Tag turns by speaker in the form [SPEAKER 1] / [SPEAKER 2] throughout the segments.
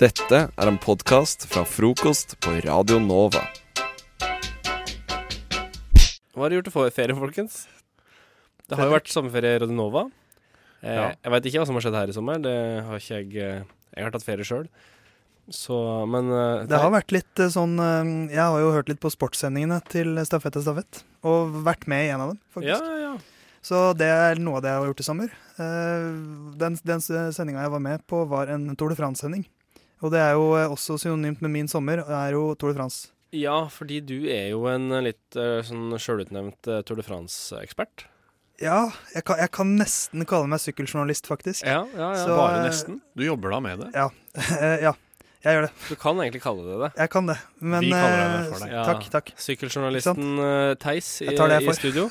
[SPEAKER 1] Dette er en podkast fra frokost på Radio Nova.
[SPEAKER 2] Hva har du gjort i ferien, folkens? Det har jo vært sommerferie i Rodinova. Eh,
[SPEAKER 3] Ja.
[SPEAKER 2] Jeg veit ikke hva som har skjedd her i sommer. Det har ikke jeg eh, Jeg har tatt ferie sjøl. Så, men eh,
[SPEAKER 3] Det har
[SPEAKER 2] nei,
[SPEAKER 3] vært litt eh, sånn eh, Jeg har jo hørt litt på sportssendingene til Stafett og Stafett, og vært med i en av dem,
[SPEAKER 2] ja,
[SPEAKER 3] faktisk.
[SPEAKER 2] ja, ja.
[SPEAKER 3] Så det er noe av det jeg har gjort i sommer. Eh, Den, den sendinga jeg var med på, var en Tour de France-sending. Og det er jo eh, også synonymt med min sommer, er jo Tour de France.
[SPEAKER 2] ja, fordi du er jo en eh, litt eh, sånn sjølutnevnt eh, Tour de France-ekspert.
[SPEAKER 3] Ja, jeg kan, jeg kan nesten kalle meg sykkeljournalist, faktisk.
[SPEAKER 2] Ja, ja, ja.
[SPEAKER 3] Så-
[SPEAKER 4] Bare nesten. Du jobber da med det.
[SPEAKER 3] Ja. ja, jeg gjør det.
[SPEAKER 2] Du kan egentlig kalle det det.
[SPEAKER 3] Jeg kan det. Men
[SPEAKER 4] Vi kaller deg det for
[SPEAKER 3] eh,
[SPEAKER 4] deg.
[SPEAKER 2] Ja.
[SPEAKER 3] Takk, takk.
[SPEAKER 2] Sykkeljournalisten eh, Theis i,
[SPEAKER 3] Jeg tar det jeg
[SPEAKER 2] i
[SPEAKER 3] får.
[SPEAKER 2] studio.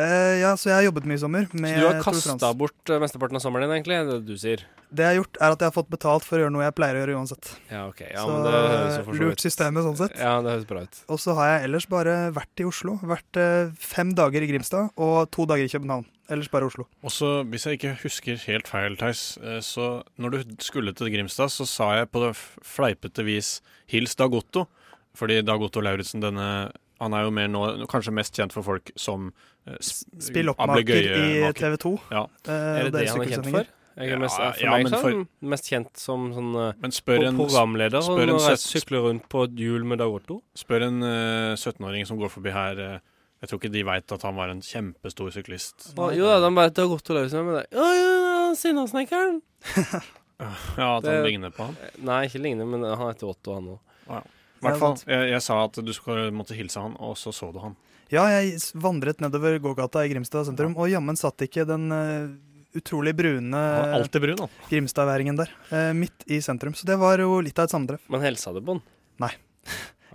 [SPEAKER 3] Eh, ja, så jeg har jobbet mye i sommer med
[SPEAKER 2] Så du har
[SPEAKER 3] Tour de
[SPEAKER 2] kasta
[SPEAKER 3] France.
[SPEAKER 2] bort eh, mesteparten av sommeren din, egentlig, er det du sier.
[SPEAKER 3] Det jeg har gjort, er at jeg har fått betalt for å gjøre noe jeg pleier å gjøre uansett.
[SPEAKER 2] Ja, OK. Ja,
[SPEAKER 3] så
[SPEAKER 2] men det høres jo for så
[SPEAKER 3] lurt
[SPEAKER 2] vidt
[SPEAKER 3] systemet sånn sett.
[SPEAKER 2] Ja, det høres bra ut.
[SPEAKER 3] Og så har jeg ellers bare vært i Oslo. Vært eh, fem dager i Grimstad og to dager i København. Ellers bare Oslo.
[SPEAKER 4] Og så, hvis jeg ikke husker helt feil, Theis, eh, så når du skulle til Grimstad, så sa jeg på det f- fleipete vis 'hils Dag Otto'. Fordi Dag Otto Lauritzen, denne Han er jo mer nå kanskje mest kjent for folk som eh, s-
[SPEAKER 3] Spilloppmaker i
[SPEAKER 4] ablegøyemaker.
[SPEAKER 3] TV 2.
[SPEAKER 4] eh, Ja.
[SPEAKER 2] Er det det han er kjent for? Jeg
[SPEAKER 4] Ja,
[SPEAKER 2] er mest, for
[SPEAKER 4] ja,
[SPEAKER 2] meg
[SPEAKER 4] men
[SPEAKER 2] så er
[SPEAKER 4] for-
[SPEAKER 2] han mest kjent som sånn eh,
[SPEAKER 4] Men spør en,
[SPEAKER 2] programleder
[SPEAKER 4] spør en
[SPEAKER 2] og
[SPEAKER 4] søt-
[SPEAKER 2] sykler rundt på et hjul med Dag Otto.
[SPEAKER 4] spør en eh, 17-åring som går forbi her eh, Jeg tror ikke de veit at han var en kjempestor syklist.
[SPEAKER 2] Og, jo da, de bare Dag Otto Lauritzen med det. Ja, ja, ja, Sinnasnekkeren.
[SPEAKER 4] Ja, at han
[SPEAKER 2] Det-
[SPEAKER 4] ligner på han.
[SPEAKER 2] Nei, ikke lignende, men han heter Otto, han òg.
[SPEAKER 4] I hvert fall. Jeg, jeg sa at du skulle, måtte hilse han, og så så du han.
[SPEAKER 3] Ja, jeg s- vandret nedover gågata i Grimstad sentrum, og jammen satt ikke den eh, utrolig brune
[SPEAKER 4] Han var alltid brun, han.
[SPEAKER 3] Grimstadværingen der. eh, midt i sentrum. Så det var jo litt av et sammentreff.
[SPEAKER 2] Men helsa det på han.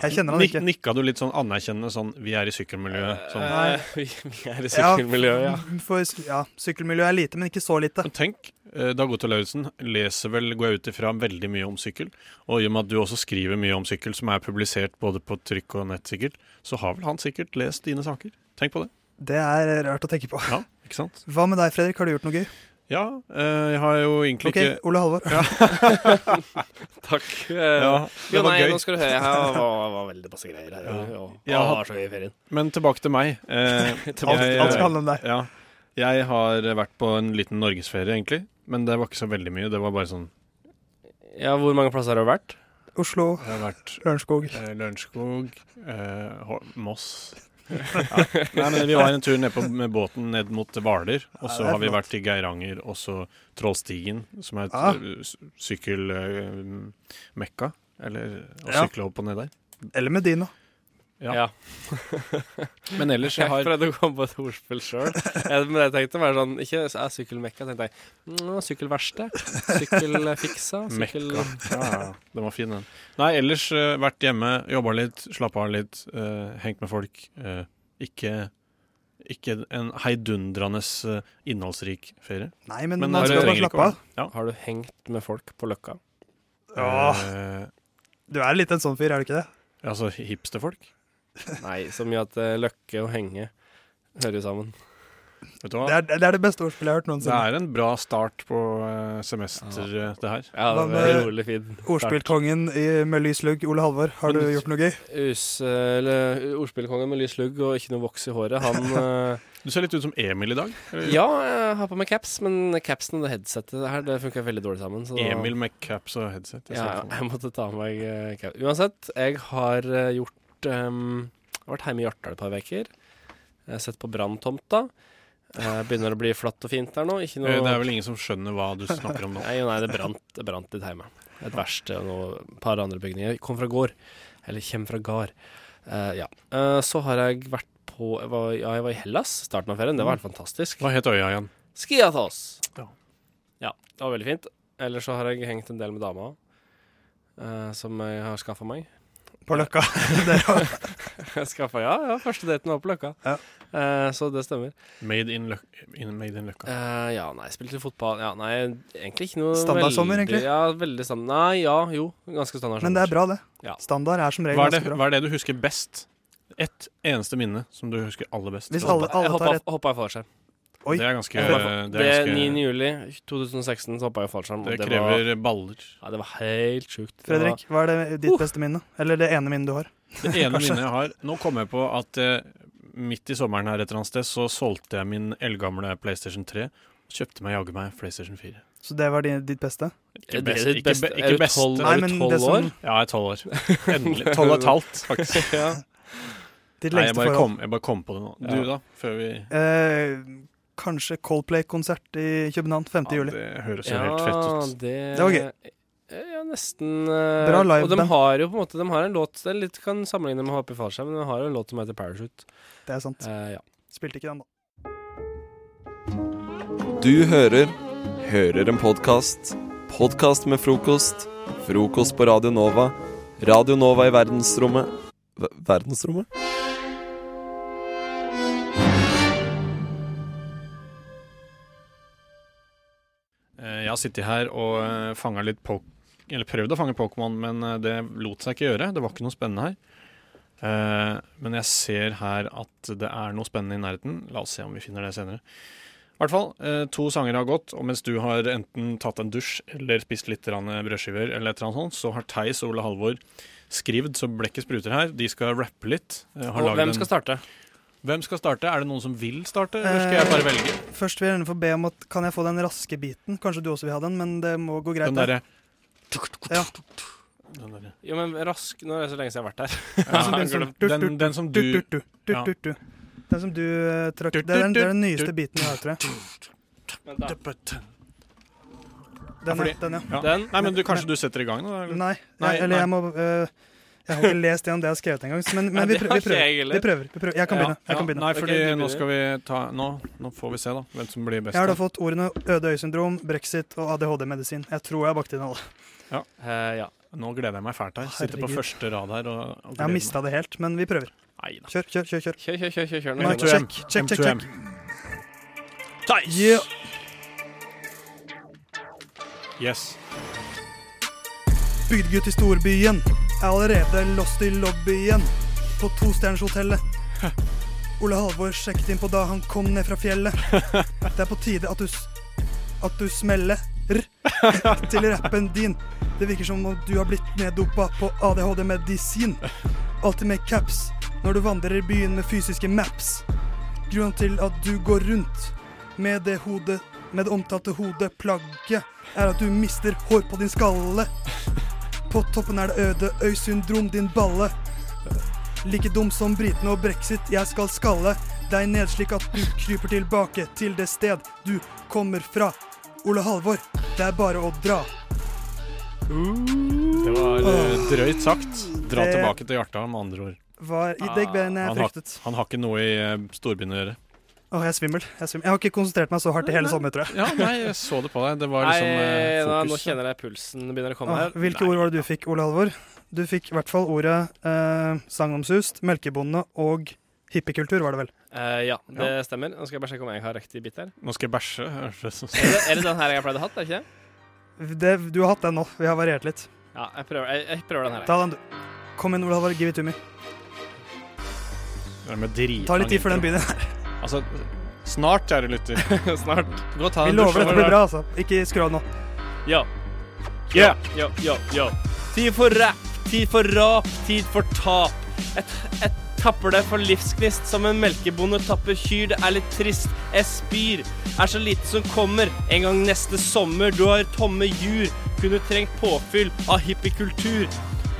[SPEAKER 3] Jeg kjenner han
[SPEAKER 4] Nik-
[SPEAKER 3] ikke.
[SPEAKER 4] Nikka du litt sånn anerkjennende sånn 'vi er i sykkelmiljøet'? Sånn.
[SPEAKER 2] Eh, vi, vi er i sykkelmiljøet, ja.
[SPEAKER 3] mm, For, ja, sykkelmiljøet er lite, men ikke så lite.
[SPEAKER 4] Men tenk, eh, Dag Otto Lauritzen leser vel, går jeg ut ifra, veldig mye om sykkel. Og i og med at du også skriver mye om sykkel, som er publisert både på trykk og nett, sikkert, så har vel han sikkert lest dine saker. Tenk på det.
[SPEAKER 3] Det er rart å tenke på.
[SPEAKER 4] Ja, ikke sant?
[SPEAKER 3] Hva med deg, Fredrik? Har du gjort noe gøy?
[SPEAKER 4] Ja, eh, jeg har jo egentlig
[SPEAKER 3] Ok,
[SPEAKER 4] ikke
[SPEAKER 3] Ole Halvor.
[SPEAKER 2] Takk. Eh,
[SPEAKER 4] Ja,
[SPEAKER 2] jo,
[SPEAKER 4] det var
[SPEAKER 2] nei,
[SPEAKER 4] gøy.
[SPEAKER 2] Nå skal du høre, her var, var veldig masse greier her.
[SPEAKER 4] Ja.
[SPEAKER 2] Ja.
[SPEAKER 4] Ja.
[SPEAKER 2] det var så gøy i ferien.
[SPEAKER 4] Men tilbake til meg. Eh,
[SPEAKER 3] Alt,
[SPEAKER 4] jeg-
[SPEAKER 3] alt skal handle om deg.
[SPEAKER 4] Ja. Jeg har vært på en liten norgesferie, egentlig. Men det var ikke så veldig mye. Det var bare sånn
[SPEAKER 2] Ja, hvor mange plasser har du vært?
[SPEAKER 3] Oslo,
[SPEAKER 4] Jeg har vært
[SPEAKER 3] Lørenskog.
[SPEAKER 4] Eh, Lørenskog, eh, Hå- Moss ja. Nei, men Vi var en tur ned på, med båten ned mot Hvaler. Og
[SPEAKER 3] Ja, det
[SPEAKER 4] så
[SPEAKER 3] er
[SPEAKER 4] har vi
[SPEAKER 3] flott.
[SPEAKER 4] vært i Geiranger og så Trollstigen, som er et
[SPEAKER 3] Ah.
[SPEAKER 4] eh, s- sykkel sykkelmekka. Eller å
[SPEAKER 3] Ja.
[SPEAKER 4] sykle opp og ned der.
[SPEAKER 3] Eller Medina.
[SPEAKER 4] Ja. Men ellers jeg
[SPEAKER 2] Jeg
[SPEAKER 4] har
[SPEAKER 2] prøvde å komme på et ordspill sjøl. Men jeg tenkte bare sånn Ikke så er sykkelmekka, tenkte jeg. Mm, Sykkelverksted. Sykkelfiksa. Sykkel...
[SPEAKER 4] Mekka. Ja, ja, den var fin, den. Nei, ellers eh, vært hjemme, jobba litt, slappa av litt, eh, hengt med folk. eh, ikke ikke en heidundrende eh, innholdsrik ferie.
[SPEAKER 3] Nei, men,
[SPEAKER 4] Men
[SPEAKER 3] man
[SPEAKER 4] det
[SPEAKER 3] skal bare
[SPEAKER 4] trenger ikke å
[SPEAKER 3] slappe av.
[SPEAKER 2] Har du hengt med folk på Løkka?
[SPEAKER 3] Ja,
[SPEAKER 4] Eh,
[SPEAKER 3] du er litt en sånn fyr, er du ikke det?
[SPEAKER 4] Altså hipsterfolk?
[SPEAKER 2] Nei, så mye at eh, løkke og henge hører jo sammen.
[SPEAKER 4] Vet du hva? Det
[SPEAKER 3] Det
[SPEAKER 4] er,
[SPEAKER 3] er det, er det beste ordspillet jeg har hørt noensinne.
[SPEAKER 4] en bra start på eh, semester, eh, det her.
[SPEAKER 2] Ja,
[SPEAKER 3] Hva
[SPEAKER 2] det
[SPEAKER 3] med-
[SPEAKER 2] var rolig fint.
[SPEAKER 3] Ordspillkongen i- med lys lugg, Ole Halvor. Har du
[SPEAKER 2] Men-
[SPEAKER 3] gjort noe gøy?
[SPEAKER 2] Usel ordspillkongen med lys lugg og ikke noe voks i håret, han eh,
[SPEAKER 4] Du ser litt ut som Emil i dag. Eh, Eller
[SPEAKER 2] Ja, jeg har på meg caps, men capsen og det headsetet her, det funker veldig dårlig sammen. Så da-
[SPEAKER 4] Emil med caps og headset. Jeg ser
[SPEAKER 2] Ja,
[SPEAKER 4] det for meg.
[SPEAKER 2] jeg måtte ta med meg eh, caps. Uansett, jeg har eh, gjort ehm, Vært hjemme i Hjartdal et par uker. Sett på Branntomta. Eh, begynner å bli flatt og fint der nå. Ikke noe
[SPEAKER 4] Eh, Det er vel ingen som skjønner hå du snakker om nå.
[SPEAKER 2] Nei, jo, nei det, brant, det brant litt hjemme. Et verksted og noe- et par andre bygninger. Jeg Kom fra gård. Eller kjem fra gard. Eh, ja. Eh, så har jeg vært på jeg var, Ja, jeg var i Hellas starten av ferien. Det var helt fantastisk.
[SPEAKER 4] Hva het øya igjen?
[SPEAKER 2] Skiathos!
[SPEAKER 4] Ja.
[SPEAKER 2] ja. Det var veldig fint. Ellers så har jeg hengt en del med dama eh, som jeg har skaffa meg.
[SPEAKER 3] På Løkka? Dere har-
[SPEAKER 2] skaffa, ja, ja. Første daten var på Løkka.
[SPEAKER 3] Ja.
[SPEAKER 2] Eh, så det stemmer.
[SPEAKER 4] Made in, løk, in, made in Løkka.
[SPEAKER 2] Eh, ja, nei, spilte fotball Ja, nei, egentlig ikke noe
[SPEAKER 3] Standardsommer,
[SPEAKER 2] veldig-
[SPEAKER 3] egentlig?
[SPEAKER 2] Ja, veldig standard. Nei, ja, jo. Ganske standard
[SPEAKER 3] Men det er bra, det.
[SPEAKER 2] Ja.
[SPEAKER 3] Standard er som regel
[SPEAKER 4] Hva er, sånn det,
[SPEAKER 3] ganske bra.
[SPEAKER 4] hva er det du husker best? Ett eneste minne som du husker aller best?
[SPEAKER 3] Hvis alle,
[SPEAKER 2] Jeg
[SPEAKER 3] alle tar
[SPEAKER 2] hoppa,
[SPEAKER 3] rett
[SPEAKER 2] hoppa i fallskjerm.
[SPEAKER 3] Oi.
[SPEAKER 4] Det er ganske
[SPEAKER 2] Jeg
[SPEAKER 4] Det,
[SPEAKER 2] hoppa-
[SPEAKER 4] er
[SPEAKER 2] Ved
[SPEAKER 4] ganske,
[SPEAKER 2] 9. juli 2016 så hoppa jeg fallskjerm. og
[SPEAKER 4] det
[SPEAKER 2] det var-
[SPEAKER 4] krever baller.
[SPEAKER 2] Ja, det var helt sjukt. Det
[SPEAKER 3] Fredrik, hva er det ditt beste minne? Eller det ene minnet du har?
[SPEAKER 4] Uh. Det ene minnet jeg har Nå kom jeg på at eh, midt i sommeren her et eller annet sted, så solgte jeg min eldgamle PlayStation 3. Kjøpte meg jaggu meg PlayStation 4.
[SPEAKER 3] Så det var din- ditt beste?
[SPEAKER 2] Var,
[SPEAKER 4] Ikke
[SPEAKER 2] er
[SPEAKER 4] best,
[SPEAKER 2] det ditt
[SPEAKER 4] ikke, be,
[SPEAKER 2] beste- er
[SPEAKER 4] ikke
[SPEAKER 2] du
[SPEAKER 4] best.
[SPEAKER 2] 12,
[SPEAKER 3] Nei,
[SPEAKER 2] er du
[SPEAKER 3] men
[SPEAKER 2] 12
[SPEAKER 3] det som-
[SPEAKER 2] år?
[SPEAKER 4] Ja, jeg er tolv år. Endelig. Tolv og et halvt, faktisk. Nei, jeg
[SPEAKER 3] Ditt lengste
[SPEAKER 4] bare,
[SPEAKER 3] forhold?
[SPEAKER 4] kom, jeg bare kom på det nå. Du,
[SPEAKER 2] Ja.
[SPEAKER 4] da? Før vi
[SPEAKER 3] Eh, kanskje Coldplay-konsert i København 5.
[SPEAKER 4] Ja,
[SPEAKER 3] juli.
[SPEAKER 4] Det høres jo helt fett ut.
[SPEAKER 2] Det,
[SPEAKER 3] Det var gøy.
[SPEAKER 2] Ja, nesten. eh,
[SPEAKER 3] Bra live,
[SPEAKER 2] Og de
[SPEAKER 3] da.
[SPEAKER 2] har jo på en måte De har en låt Det er litt kan sammenligne med å hoppe i fallskjerm, men de har jo en låt som heter 'Parachute'.
[SPEAKER 3] Det er sant.
[SPEAKER 2] Eh, ja.
[SPEAKER 3] Spilte ikke den, da.
[SPEAKER 1] Du hører Hører en podkast. Podkast med frokost. Frokost på Radio Nova. Radio Nova i verdensrommet Ver- Verdensrommet?
[SPEAKER 4] Eh, Jeg har sittet her og eh, fanget litt pok Eller prøvd å fange Pokémon, men eh, det lot seg ikke gjøre. Det var ikke noe spennende her. Eh, Men jeg ser her at det er noe spennende i nærheten. La oss se om vi finner det senere. I hvert fall, eh, to sanger har gått, og mens du har enten tatt en dusj eller spist litt grann, eh, brødskiver, eller et eller annet sånt, så har Theis og Ole Halvor skrevet så blekket spruter her. De skal rappe litt. eh, har
[SPEAKER 2] Og
[SPEAKER 4] laget
[SPEAKER 2] hvem
[SPEAKER 4] en-
[SPEAKER 2] skal starte? Eh,
[SPEAKER 4] hvem skal starte? Er det noen som vil starte, eller skal jeg bare velge?
[SPEAKER 3] Eh, Først vil jeg gjerne få be om at kan jeg få den raske biten? Kanskje du også vil ha den, men det må gå greit.
[SPEAKER 4] Den
[SPEAKER 3] det.
[SPEAKER 4] derre
[SPEAKER 3] Ja.
[SPEAKER 4] Den derre
[SPEAKER 2] Jo, men rask Nå er det så lenge siden jeg har vært her.
[SPEAKER 4] Ja,
[SPEAKER 3] Altså, Den som-
[SPEAKER 4] glem- den, den som
[SPEAKER 3] Du,
[SPEAKER 4] du
[SPEAKER 3] du, du, du,
[SPEAKER 4] ja.
[SPEAKER 3] du, du. Den som du eh, trakk Det er den, det er den nyeste biten jeg har, tror jeg.
[SPEAKER 2] Vent da.
[SPEAKER 3] Den,
[SPEAKER 4] Ja,
[SPEAKER 3] ja.
[SPEAKER 4] fordi-
[SPEAKER 3] Den, ja.
[SPEAKER 4] Ja.
[SPEAKER 2] Den
[SPEAKER 4] Nei, men du, kanskje du setter i gang nå? eller?
[SPEAKER 3] Nei,
[SPEAKER 4] Nei,
[SPEAKER 3] jeg, eller jeg må eh, Jeg har ikke lest gjennom det jeg har skrevet engang, men, men vi,
[SPEAKER 2] det
[SPEAKER 3] prø-
[SPEAKER 2] har
[SPEAKER 3] vi
[SPEAKER 2] ikke
[SPEAKER 3] prøver.
[SPEAKER 2] jeg heller.
[SPEAKER 3] Vi prøver. Vi prøver. Jeg kan
[SPEAKER 4] Ja,
[SPEAKER 3] begynne. Jeg,
[SPEAKER 4] ja,
[SPEAKER 3] kan begynne.
[SPEAKER 4] Nei,
[SPEAKER 2] Ok,
[SPEAKER 4] fordi
[SPEAKER 2] du
[SPEAKER 4] nå
[SPEAKER 2] begynner.
[SPEAKER 4] skal vi ta Nå, nå får vi se, da, hvem som blir best.
[SPEAKER 3] jeg har da
[SPEAKER 4] da.
[SPEAKER 3] fått ordene øde øyesyndrom, brexit og ADHD-medisin. Jeg tror jeg har bakt inn alle.
[SPEAKER 2] Eh, ja.
[SPEAKER 4] Nå gleder jeg meg fælt her. Sitter på
[SPEAKER 3] Herregud.
[SPEAKER 4] første rad her og, og
[SPEAKER 3] Jeg har mista det helt, men vi prøver.
[SPEAKER 4] Nei da.
[SPEAKER 3] Kjør, kjør, kjør. kjør.
[SPEAKER 2] Kjør, kjør, kjør. kjør, kjør.
[SPEAKER 3] Mic
[SPEAKER 2] Nå
[SPEAKER 4] tror jeg-
[SPEAKER 2] skjønner
[SPEAKER 3] check, check, check,
[SPEAKER 4] M2M.
[SPEAKER 3] check.
[SPEAKER 4] Theis!
[SPEAKER 3] Yeah.
[SPEAKER 4] Yes.
[SPEAKER 3] Bygdegutt i storbyen. Er allerede lost i lobbyen på tostjernershotellet. Ole Halvor sjekket inn på da han kom ned fra fjellet. Det er på tide at du, s- at du smeller til rappen din. Det virker som om du har blitt neddopa på ADHD-medisin. Alltid med caps når du vandrer i byen med fysiske maps. Grunnen til at du går rundt med det hodet med det omtalte hodeplagget, er at du mister hår på din skalle. På toppen er det øde øy-syndrom, din balle. Like dum som britene og brexit, jeg skal skalle deg ned slik at du kryper tilbake til det sted du kommer fra. Ole Halvor, det er bare å dra.
[SPEAKER 4] Det var eh, drøyt sagt. Dra
[SPEAKER 3] Det-
[SPEAKER 4] tilbake til Hjarta, med andre ord.
[SPEAKER 3] Var i
[SPEAKER 2] Ah.
[SPEAKER 3] deg bedre enn jeg
[SPEAKER 4] Ah, han har-
[SPEAKER 3] fryktet.
[SPEAKER 4] Han har ikke noe i eh, storbyen å gjøre.
[SPEAKER 3] Åh, jeg er svimmel. Jeg er svimmel. Jeg har ikke konsentrert meg så hardt i hele sommer, tror jeg.
[SPEAKER 4] Ja, nei, jeg så det på deg. Det var
[SPEAKER 2] Nei,
[SPEAKER 4] liksom eh,
[SPEAKER 2] nå, nå
[SPEAKER 4] fokus.
[SPEAKER 2] kjenner jeg pulsen begynner å komme
[SPEAKER 3] Åh,
[SPEAKER 2] her.
[SPEAKER 3] hvilke ord var det du fikk, Ole Halvor? Du fikk i hvert fall ordet eh, sagnomsust, melkebonde og hippiekultur, var det vel.
[SPEAKER 2] Eh, ja, det stemmer. Nå skal jeg bare sjekke om jeg har riktig bit her.
[SPEAKER 4] Nå skal jeg bæsje. høres det som-
[SPEAKER 2] Er det, er det den her jeg pleide å ha? er det Ikke? det?
[SPEAKER 3] Det, du har hatt den nå. Vi har variert litt.
[SPEAKER 2] Ja, jeg prøver, jeg, jeg prøver den her.
[SPEAKER 3] Ta den, du. Kom igjen, Ole Halvor. Give it to me.
[SPEAKER 4] Det er med dritlang
[SPEAKER 3] Ta litt tid før den
[SPEAKER 4] intro.
[SPEAKER 3] begynner.
[SPEAKER 4] Altså, snart, kjære lytter.
[SPEAKER 2] Snart.
[SPEAKER 4] Gå og ta
[SPEAKER 3] Vi
[SPEAKER 4] en
[SPEAKER 3] lover
[SPEAKER 4] dusj.
[SPEAKER 3] dette blir bra, altså. Ikke skru av nå.
[SPEAKER 2] Ja.
[SPEAKER 4] Ja.
[SPEAKER 2] Ja, ja, ja. Tid for rap, tid for rap, tid for tap. Jeg, t- jeg tapper det for livsgnist som en melkebonde tapper kyr. Det er litt trist. Jeg spyr. Er så lite som kommer. En gang neste sommer. Du har tomme jur. Kunne trengt påfyll av hippiekultur.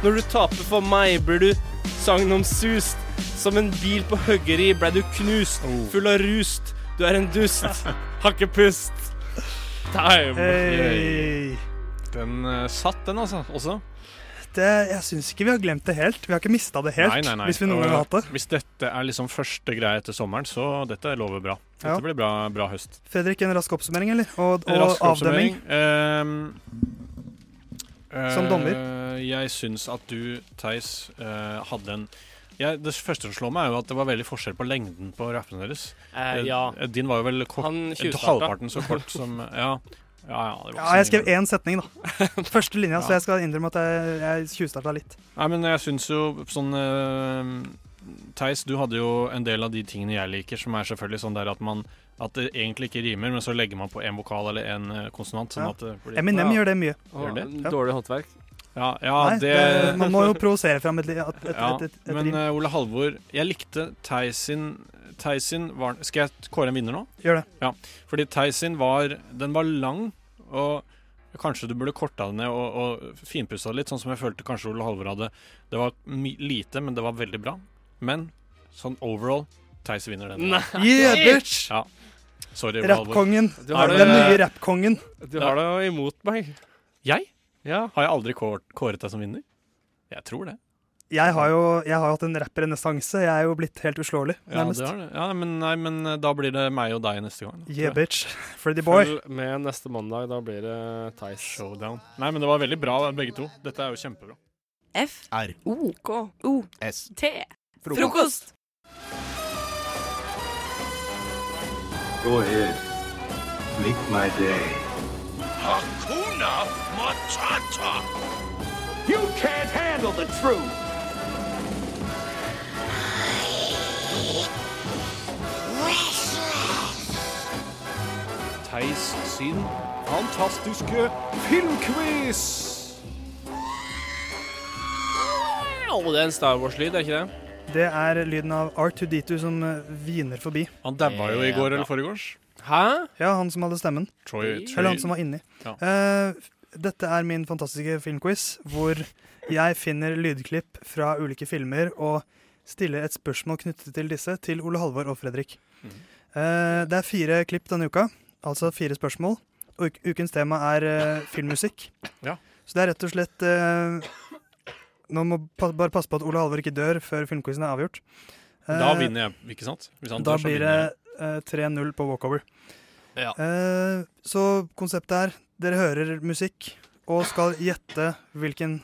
[SPEAKER 2] Når du taper for meg, blir du sagnomsust. Som en bil på høggeri blei du knust. Full av rust. Du er en dust. Har ikke pust. Time.
[SPEAKER 3] Hey.
[SPEAKER 4] Den eh, satt, den altså. Også.
[SPEAKER 3] Det, jeg syns ikke vi har glemt det helt. Vi har ikke mista det helt.
[SPEAKER 4] Nei, nei, nei.
[SPEAKER 3] Hvis vi noen gang har hatt det.
[SPEAKER 4] Hvis dette er liksom første greie etter sommeren, så dette lover bra. Dette
[SPEAKER 3] Ja.
[SPEAKER 4] blir bra, bra høst.
[SPEAKER 3] Fredrik, en rask oppsummering, eller? Og, og
[SPEAKER 4] Rask
[SPEAKER 3] avdemming.
[SPEAKER 4] oppsummering. Ehm, eh,
[SPEAKER 3] Som dommer.
[SPEAKER 4] Jeg syns at du, Theis, eh, hadde en jeg, Det første som slår meg, er jo at det var veldig forskjell på lengden på rappene deres.
[SPEAKER 2] Eh,
[SPEAKER 4] Eh,
[SPEAKER 2] ja.
[SPEAKER 4] Din var jo vel kort,
[SPEAKER 2] Han tjuvstarta.
[SPEAKER 4] halvparten så kort som Ja, ja. ja, det var ikke
[SPEAKER 3] Ja,
[SPEAKER 4] så
[SPEAKER 3] jeg
[SPEAKER 4] mye.
[SPEAKER 3] skrev én setning, da. Første
[SPEAKER 4] Ja.
[SPEAKER 3] linja, så jeg skal innrømme at jeg, jeg tjuvstarta litt.
[SPEAKER 4] Nei, men jeg syns jo sånn eh, Theis, du hadde jo en del av de tingene jeg liker, som er selvfølgelig sånn der at man At det egentlig ikke rimer, men så legger man på en vokal eller en eh, konsonant. Sånn
[SPEAKER 3] Ja.
[SPEAKER 4] at det blir
[SPEAKER 2] Ja.
[SPEAKER 3] Eminem gjør det mye.
[SPEAKER 2] Å,
[SPEAKER 4] Gjør det?
[SPEAKER 2] ja. Dårlig håndverk.
[SPEAKER 4] Ja, ja
[SPEAKER 3] Nei,
[SPEAKER 4] det,
[SPEAKER 3] det- man må jo provosere fram et, li- et, et,
[SPEAKER 4] ja,
[SPEAKER 3] et, et, et
[SPEAKER 4] Men
[SPEAKER 3] rim.
[SPEAKER 4] eh, Ole Halvor, jeg likte Theis sin Theis sin var Skal jeg kåre en vinner nå?
[SPEAKER 3] Gjør det.
[SPEAKER 4] Fordi Theis sin var Den var lang, og kanskje du burde korta den ned og, og finpussa det litt, sånn som jeg følte kanskje Ole Halvor hadde. Det var my lite, men det var veldig bra. Men sånn overall, Theis vinner den.
[SPEAKER 2] Nei,
[SPEAKER 3] Yeah, bitch!
[SPEAKER 4] Ja. Sorry, Ole Halvor.
[SPEAKER 3] Rappkongen.
[SPEAKER 2] Du
[SPEAKER 4] Er
[SPEAKER 2] har
[SPEAKER 4] det-
[SPEAKER 3] Den nye
[SPEAKER 2] det,
[SPEAKER 3] rappkongen.
[SPEAKER 4] eh,
[SPEAKER 2] du har det jo imot meg.
[SPEAKER 4] Jeg?
[SPEAKER 2] Ja.
[SPEAKER 4] Har jeg aldri kåret, kåret deg som vinner? Jeg tror det.
[SPEAKER 3] Jeg har jo jeg har jo hatt en rapprenessanse. Jeg er jo blitt helt uslåelig,
[SPEAKER 4] Ja,
[SPEAKER 3] nærmest.
[SPEAKER 4] det har det. Ja, men, nei, men eh, da blir det meg og deg neste gang. da, tror jeg.
[SPEAKER 3] Yeah, bitch. Freddy boy.
[SPEAKER 2] Følg med neste mandag, da blir det Theis.
[SPEAKER 4] Showdown. Nei, men det var veldig bra, begge to. Dette er jo kjempebra.
[SPEAKER 5] F
[SPEAKER 6] R.
[SPEAKER 5] O K
[SPEAKER 7] Oh,
[SPEAKER 5] O
[SPEAKER 6] S.
[SPEAKER 5] T. Frokost.
[SPEAKER 8] Go ahead. Make my day.
[SPEAKER 9] You can't handle the truth.
[SPEAKER 4] Theis sin
[SPEAKER 6] Fantastiske filmquiz!
[SPEAKER 2] Au, det er en Star Wars-lyd, er ikke det?
[SPEAKER 3] Det er lyden av R2D2 som eh, hviner forbi.
[SPEAKER 4] Han daua jo i
[SPEAKER 2] Ja,
[SPEAKER 4] går
[SPEAKER 2] da.
[SPEAKER 4] eller foregårs.
[SPEAKER 2] Hæ?
[SPEAKER 3] Ja, han som hadde stemmen.
[SPEAKER 4] Troy,
[SPEAKER 2] Eller
[SPEAKER 3] Eller
[SPEAKER 4] Troy.
[SPEAKER 3] han som var inni.
[SPEAKER 4] Ja.
[SPEAKER 3] Eh, dette er min fantastiske filmquiz, hvor jeg finner lydklipp fra ulike filmer og stiller et spørsmål knyttet til disse til Ole Halvor og Fredrik.
[SPEAKER 4] Mm.
[SPEAKER 3] Eh, det er fire klipp denne uka, altså fire spørsmål. Og uk- ukens tema er eh, filmmusikk.
[SPEAKER 4] Ja.
[SPEAKER 3] Så det er rett og slett eh, Nå må pa bare passe på at Ole Halvor ikke dør før filmquizen er avgjort. Eh,
[SPEAKER 4] Da vinner jeg, ikke sant? Hvis han
[SPEAKER 3] da
[SPEAKER 4] dør, så
[SPEAKER 3] blir
[SPEAKER 4] vinner jeg.
[SPEAKER 3] det eh, 3-0 på walkover.
[SPEAKER 2] Ja.
[SPEAKER 3] Eh, så konseptet er dere hører musikk og skal gjette hvilken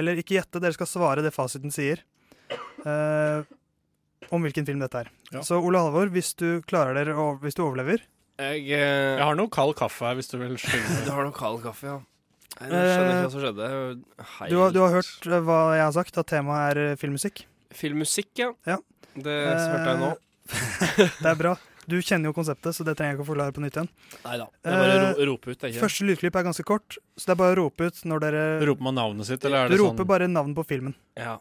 [SPEAKER 3] Eller ikke gjette, dere skal svare det fasiten sier eh, om hvilken film dette er.
[SPEAKER 4] Ja.
[SPEAKER 3] Så Ole Halvor, hvis du klarer dere, og hvis du overlever
[SPEAKER 2] Jeg,
[SPEAKER 4] Jeg har noe kald kaffe her, hvis du vil
[SPEAKER 2] Du
[SPEAKER 4] skylde.
[SPEAKER 2] har noe kald kaffe, ja. Nei, Jeg skjønner ikke hva som skjedde. Hei.
[SPEAKER 3] du, har- du har hørt eh, hva jeg har sagt, at temaet er eh, filmmusikk.
[SPEAKER 2] Filmmusikk, ja.
[SPEAKER 3] Ja. Eh,
[SPEAKER 2] Det hørte jeg nå.
[SPEAKER 3] Det er bra. Du kjenner jo konseptet, så det trenger jeg ikke å forklare på nytt igjen. Eh,
[SPEAKER 2] Nei da. Det er bare å ro- rope ut, det er ikke det?
[SPEAKER 3] Første lydklipp er ganske kort, så det er bare å rope ut når dere
[SPEAKER 4] Roper man navnet sitt, eller er
[SPEAKER 3] Du
[SPEAKER 4] det
[SPEAKER 3] roper
[SPEAKER 4] sånn
[SPEAKER 3] bare navn på filmen.
[SPEAKER 2] Ja.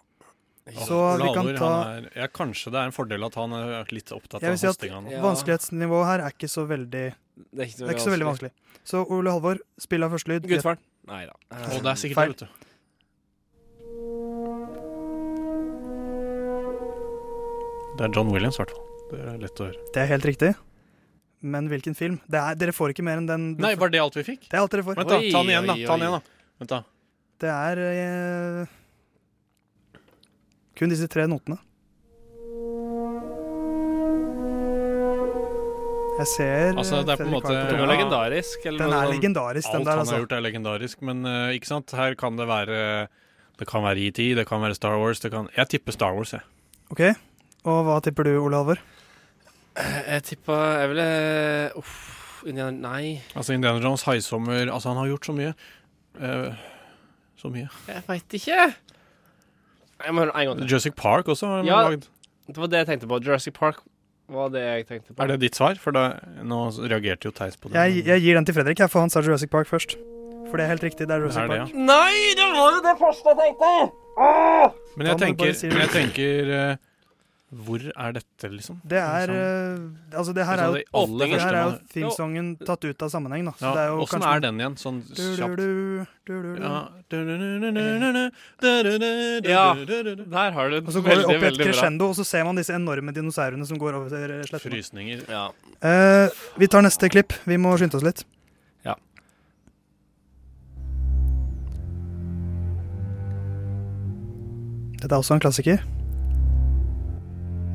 [SPEAKER 4] Åh,
[SPEAKER 3] så
[SPEAKER 4] Ole
[SPEAKER 3] vi kan
[SPEAKER 4] Halvor,
[SPEAKER 3] ta-
[SPEAKER 4] han er, ja, Kanskje det er en fordel at han er litt opptatt
[SPEAKER 3] Jeg
[SPEAKER 4] av
[SPEAKER 3] vil si at-
[SPEAKER 4] hostinga nå.
[SPEAKER 2] Ja.
[SPEAKER 3] Vanskelighetsnivået her er ikke så veldig
[SPEAKER 2] Det er ikke,
[SPEAKER 3] Det er ikke så veldig vanskelig. Så Ole Halvor, spill av første lyd.
[SPEAKER 2] Gudfaren. Nei da.
[SPEAKER 4] Og det er sikkert
[SPEAKER 3] Feil.
[SPEAKER 4] det, vet du. Det er John Williams, i hvert fall. Det er lett å høre.
[SPEAKER 3] Det er helt riktig. Men hvilken film? Det er, dere får ikke mer enn den.
[SPEAKER 4] Nei, var det alt vi fikk?
[SPEAKER 3] Det er alt dere får.
[SPEAKER 4] Vent, da. Ta den igjen, da.
[SPEAKER 2] Oi, oi,
[SPEAKER 4] Ta den igjen, da. Vent da.
[SPEAKER 3] Det er eh, kun disse tre notene. Jeg ser eh,
[SPEAKER 4] Altså, det er på en
[SPEAKER 3] Fredrik
[SPEAKER 4] måte-
[SPEAKER 3] har
[SPEAKER 2] Den
[SPEAKER 3] den.
[SPEAKER 2] var
[SPEAKER 4] Ja.
[SPEAKER 2] legendarisk. Eller
[SPEAKER 3] Den
[SPEAKER 2] noe
[SPEAKER 3] er
[SPEAKER 2] sånn.
[SPEAKER 3] legendarisk, den
[SPEAKER 4] Alt
[SPEAKER 3] der,
[SPEAKER 4] han har
[SPEAKER 3] altså.
[SPEAKER 4] gjort er legendarisk, men eh, ikke sant, her kan det være Det kan være ET, det kan være Star Wars det kan, Jeg tipper Star Wars, jeg.
[SPEAKER 3] OK. Og hva tipper du, Ole Halvor?
[SPEAKER 2] Jeg tippa Jeg ville eh, Uff. Indiana Nei,
[SPEAKER 4] Altså Indiana Jones, Haisommer Altså, han har gjort så mye. Eh, så mye.
[SPEAKER 2] jeg veit ikke. Jeg må høre en gang til.
[SPEAKER 4] Jurassic Park også har han
[SPEAKER 2] Ja.
[SPEAKER 4] lagd.
[SPEAKER 2] Det var det jeg tenkte på. Jurassic Park var det jeg tenkte på.
[SPEAKER 4] Er det ditt svar? For da, nå reagerte jo Theis på det.
[SPEAKER 3] Jeg, jeg gir den til Fredrik, jeg, for han sa Jurassic Park først. For det er helt riktig. Det er
[SPEAKER 4] Det
[SPEAKER 3] Jurassic
[SPEAKER 4] er det,
[SPEAKER 3] Park.
[SPEAKER 4] ja.
[SPEAKER 2] Nei, det var jo det første jeg tenkte! Ah!
[SPEAKER 4] Men jeg
[SPEAKER 3] Da må du bare
[SPEAKER 4] tenker,
[SPEAKER 3] si
[SPEAKER 4] men
[SPEAKER 3] det.
[SPEAKER 4] jeg tenker eh, Hvor er dette, liksom?
[SPEAKER 3] Det er eh, Altså, det her er jo
[SPEAKER 4] det aller
[SPEAKER 3] Det
[SPEAKER 4] første
[SPEAKER 3] her er jo
[SPEAKER 4] man-
[SPEAKER 3] themesongen tatt ut av sammenheng, da. Så
[SPEAKER 4] ja,
[SPEAKER 3] det er jo
[SPEAKER 4] Åssen er den igjen, sånn kjapt? Ja.
[SPEAKER 2] Der har du
[SPEAKER 3] Og
[SPEAKER 2] det
[SPEAKER 3] så går det
[SPEAKER 2] veldig,
[SPEAKER 3] opp i et
[SPEAKER 2] veldig bra.
[SPEAKER 3] crescendo, og så ser man disse enorme dinosaurene som går over eh, sletten.
[SPEAKER 4] Frysninger.
[SPEAKER 2] Ja.
[SPEAKER 3] Eh, vi tar neste klipp. Vi må skynde oss litt.
[SPEAKER 2] Ja.
[SPEAKER 3] Dette er også en klassiker.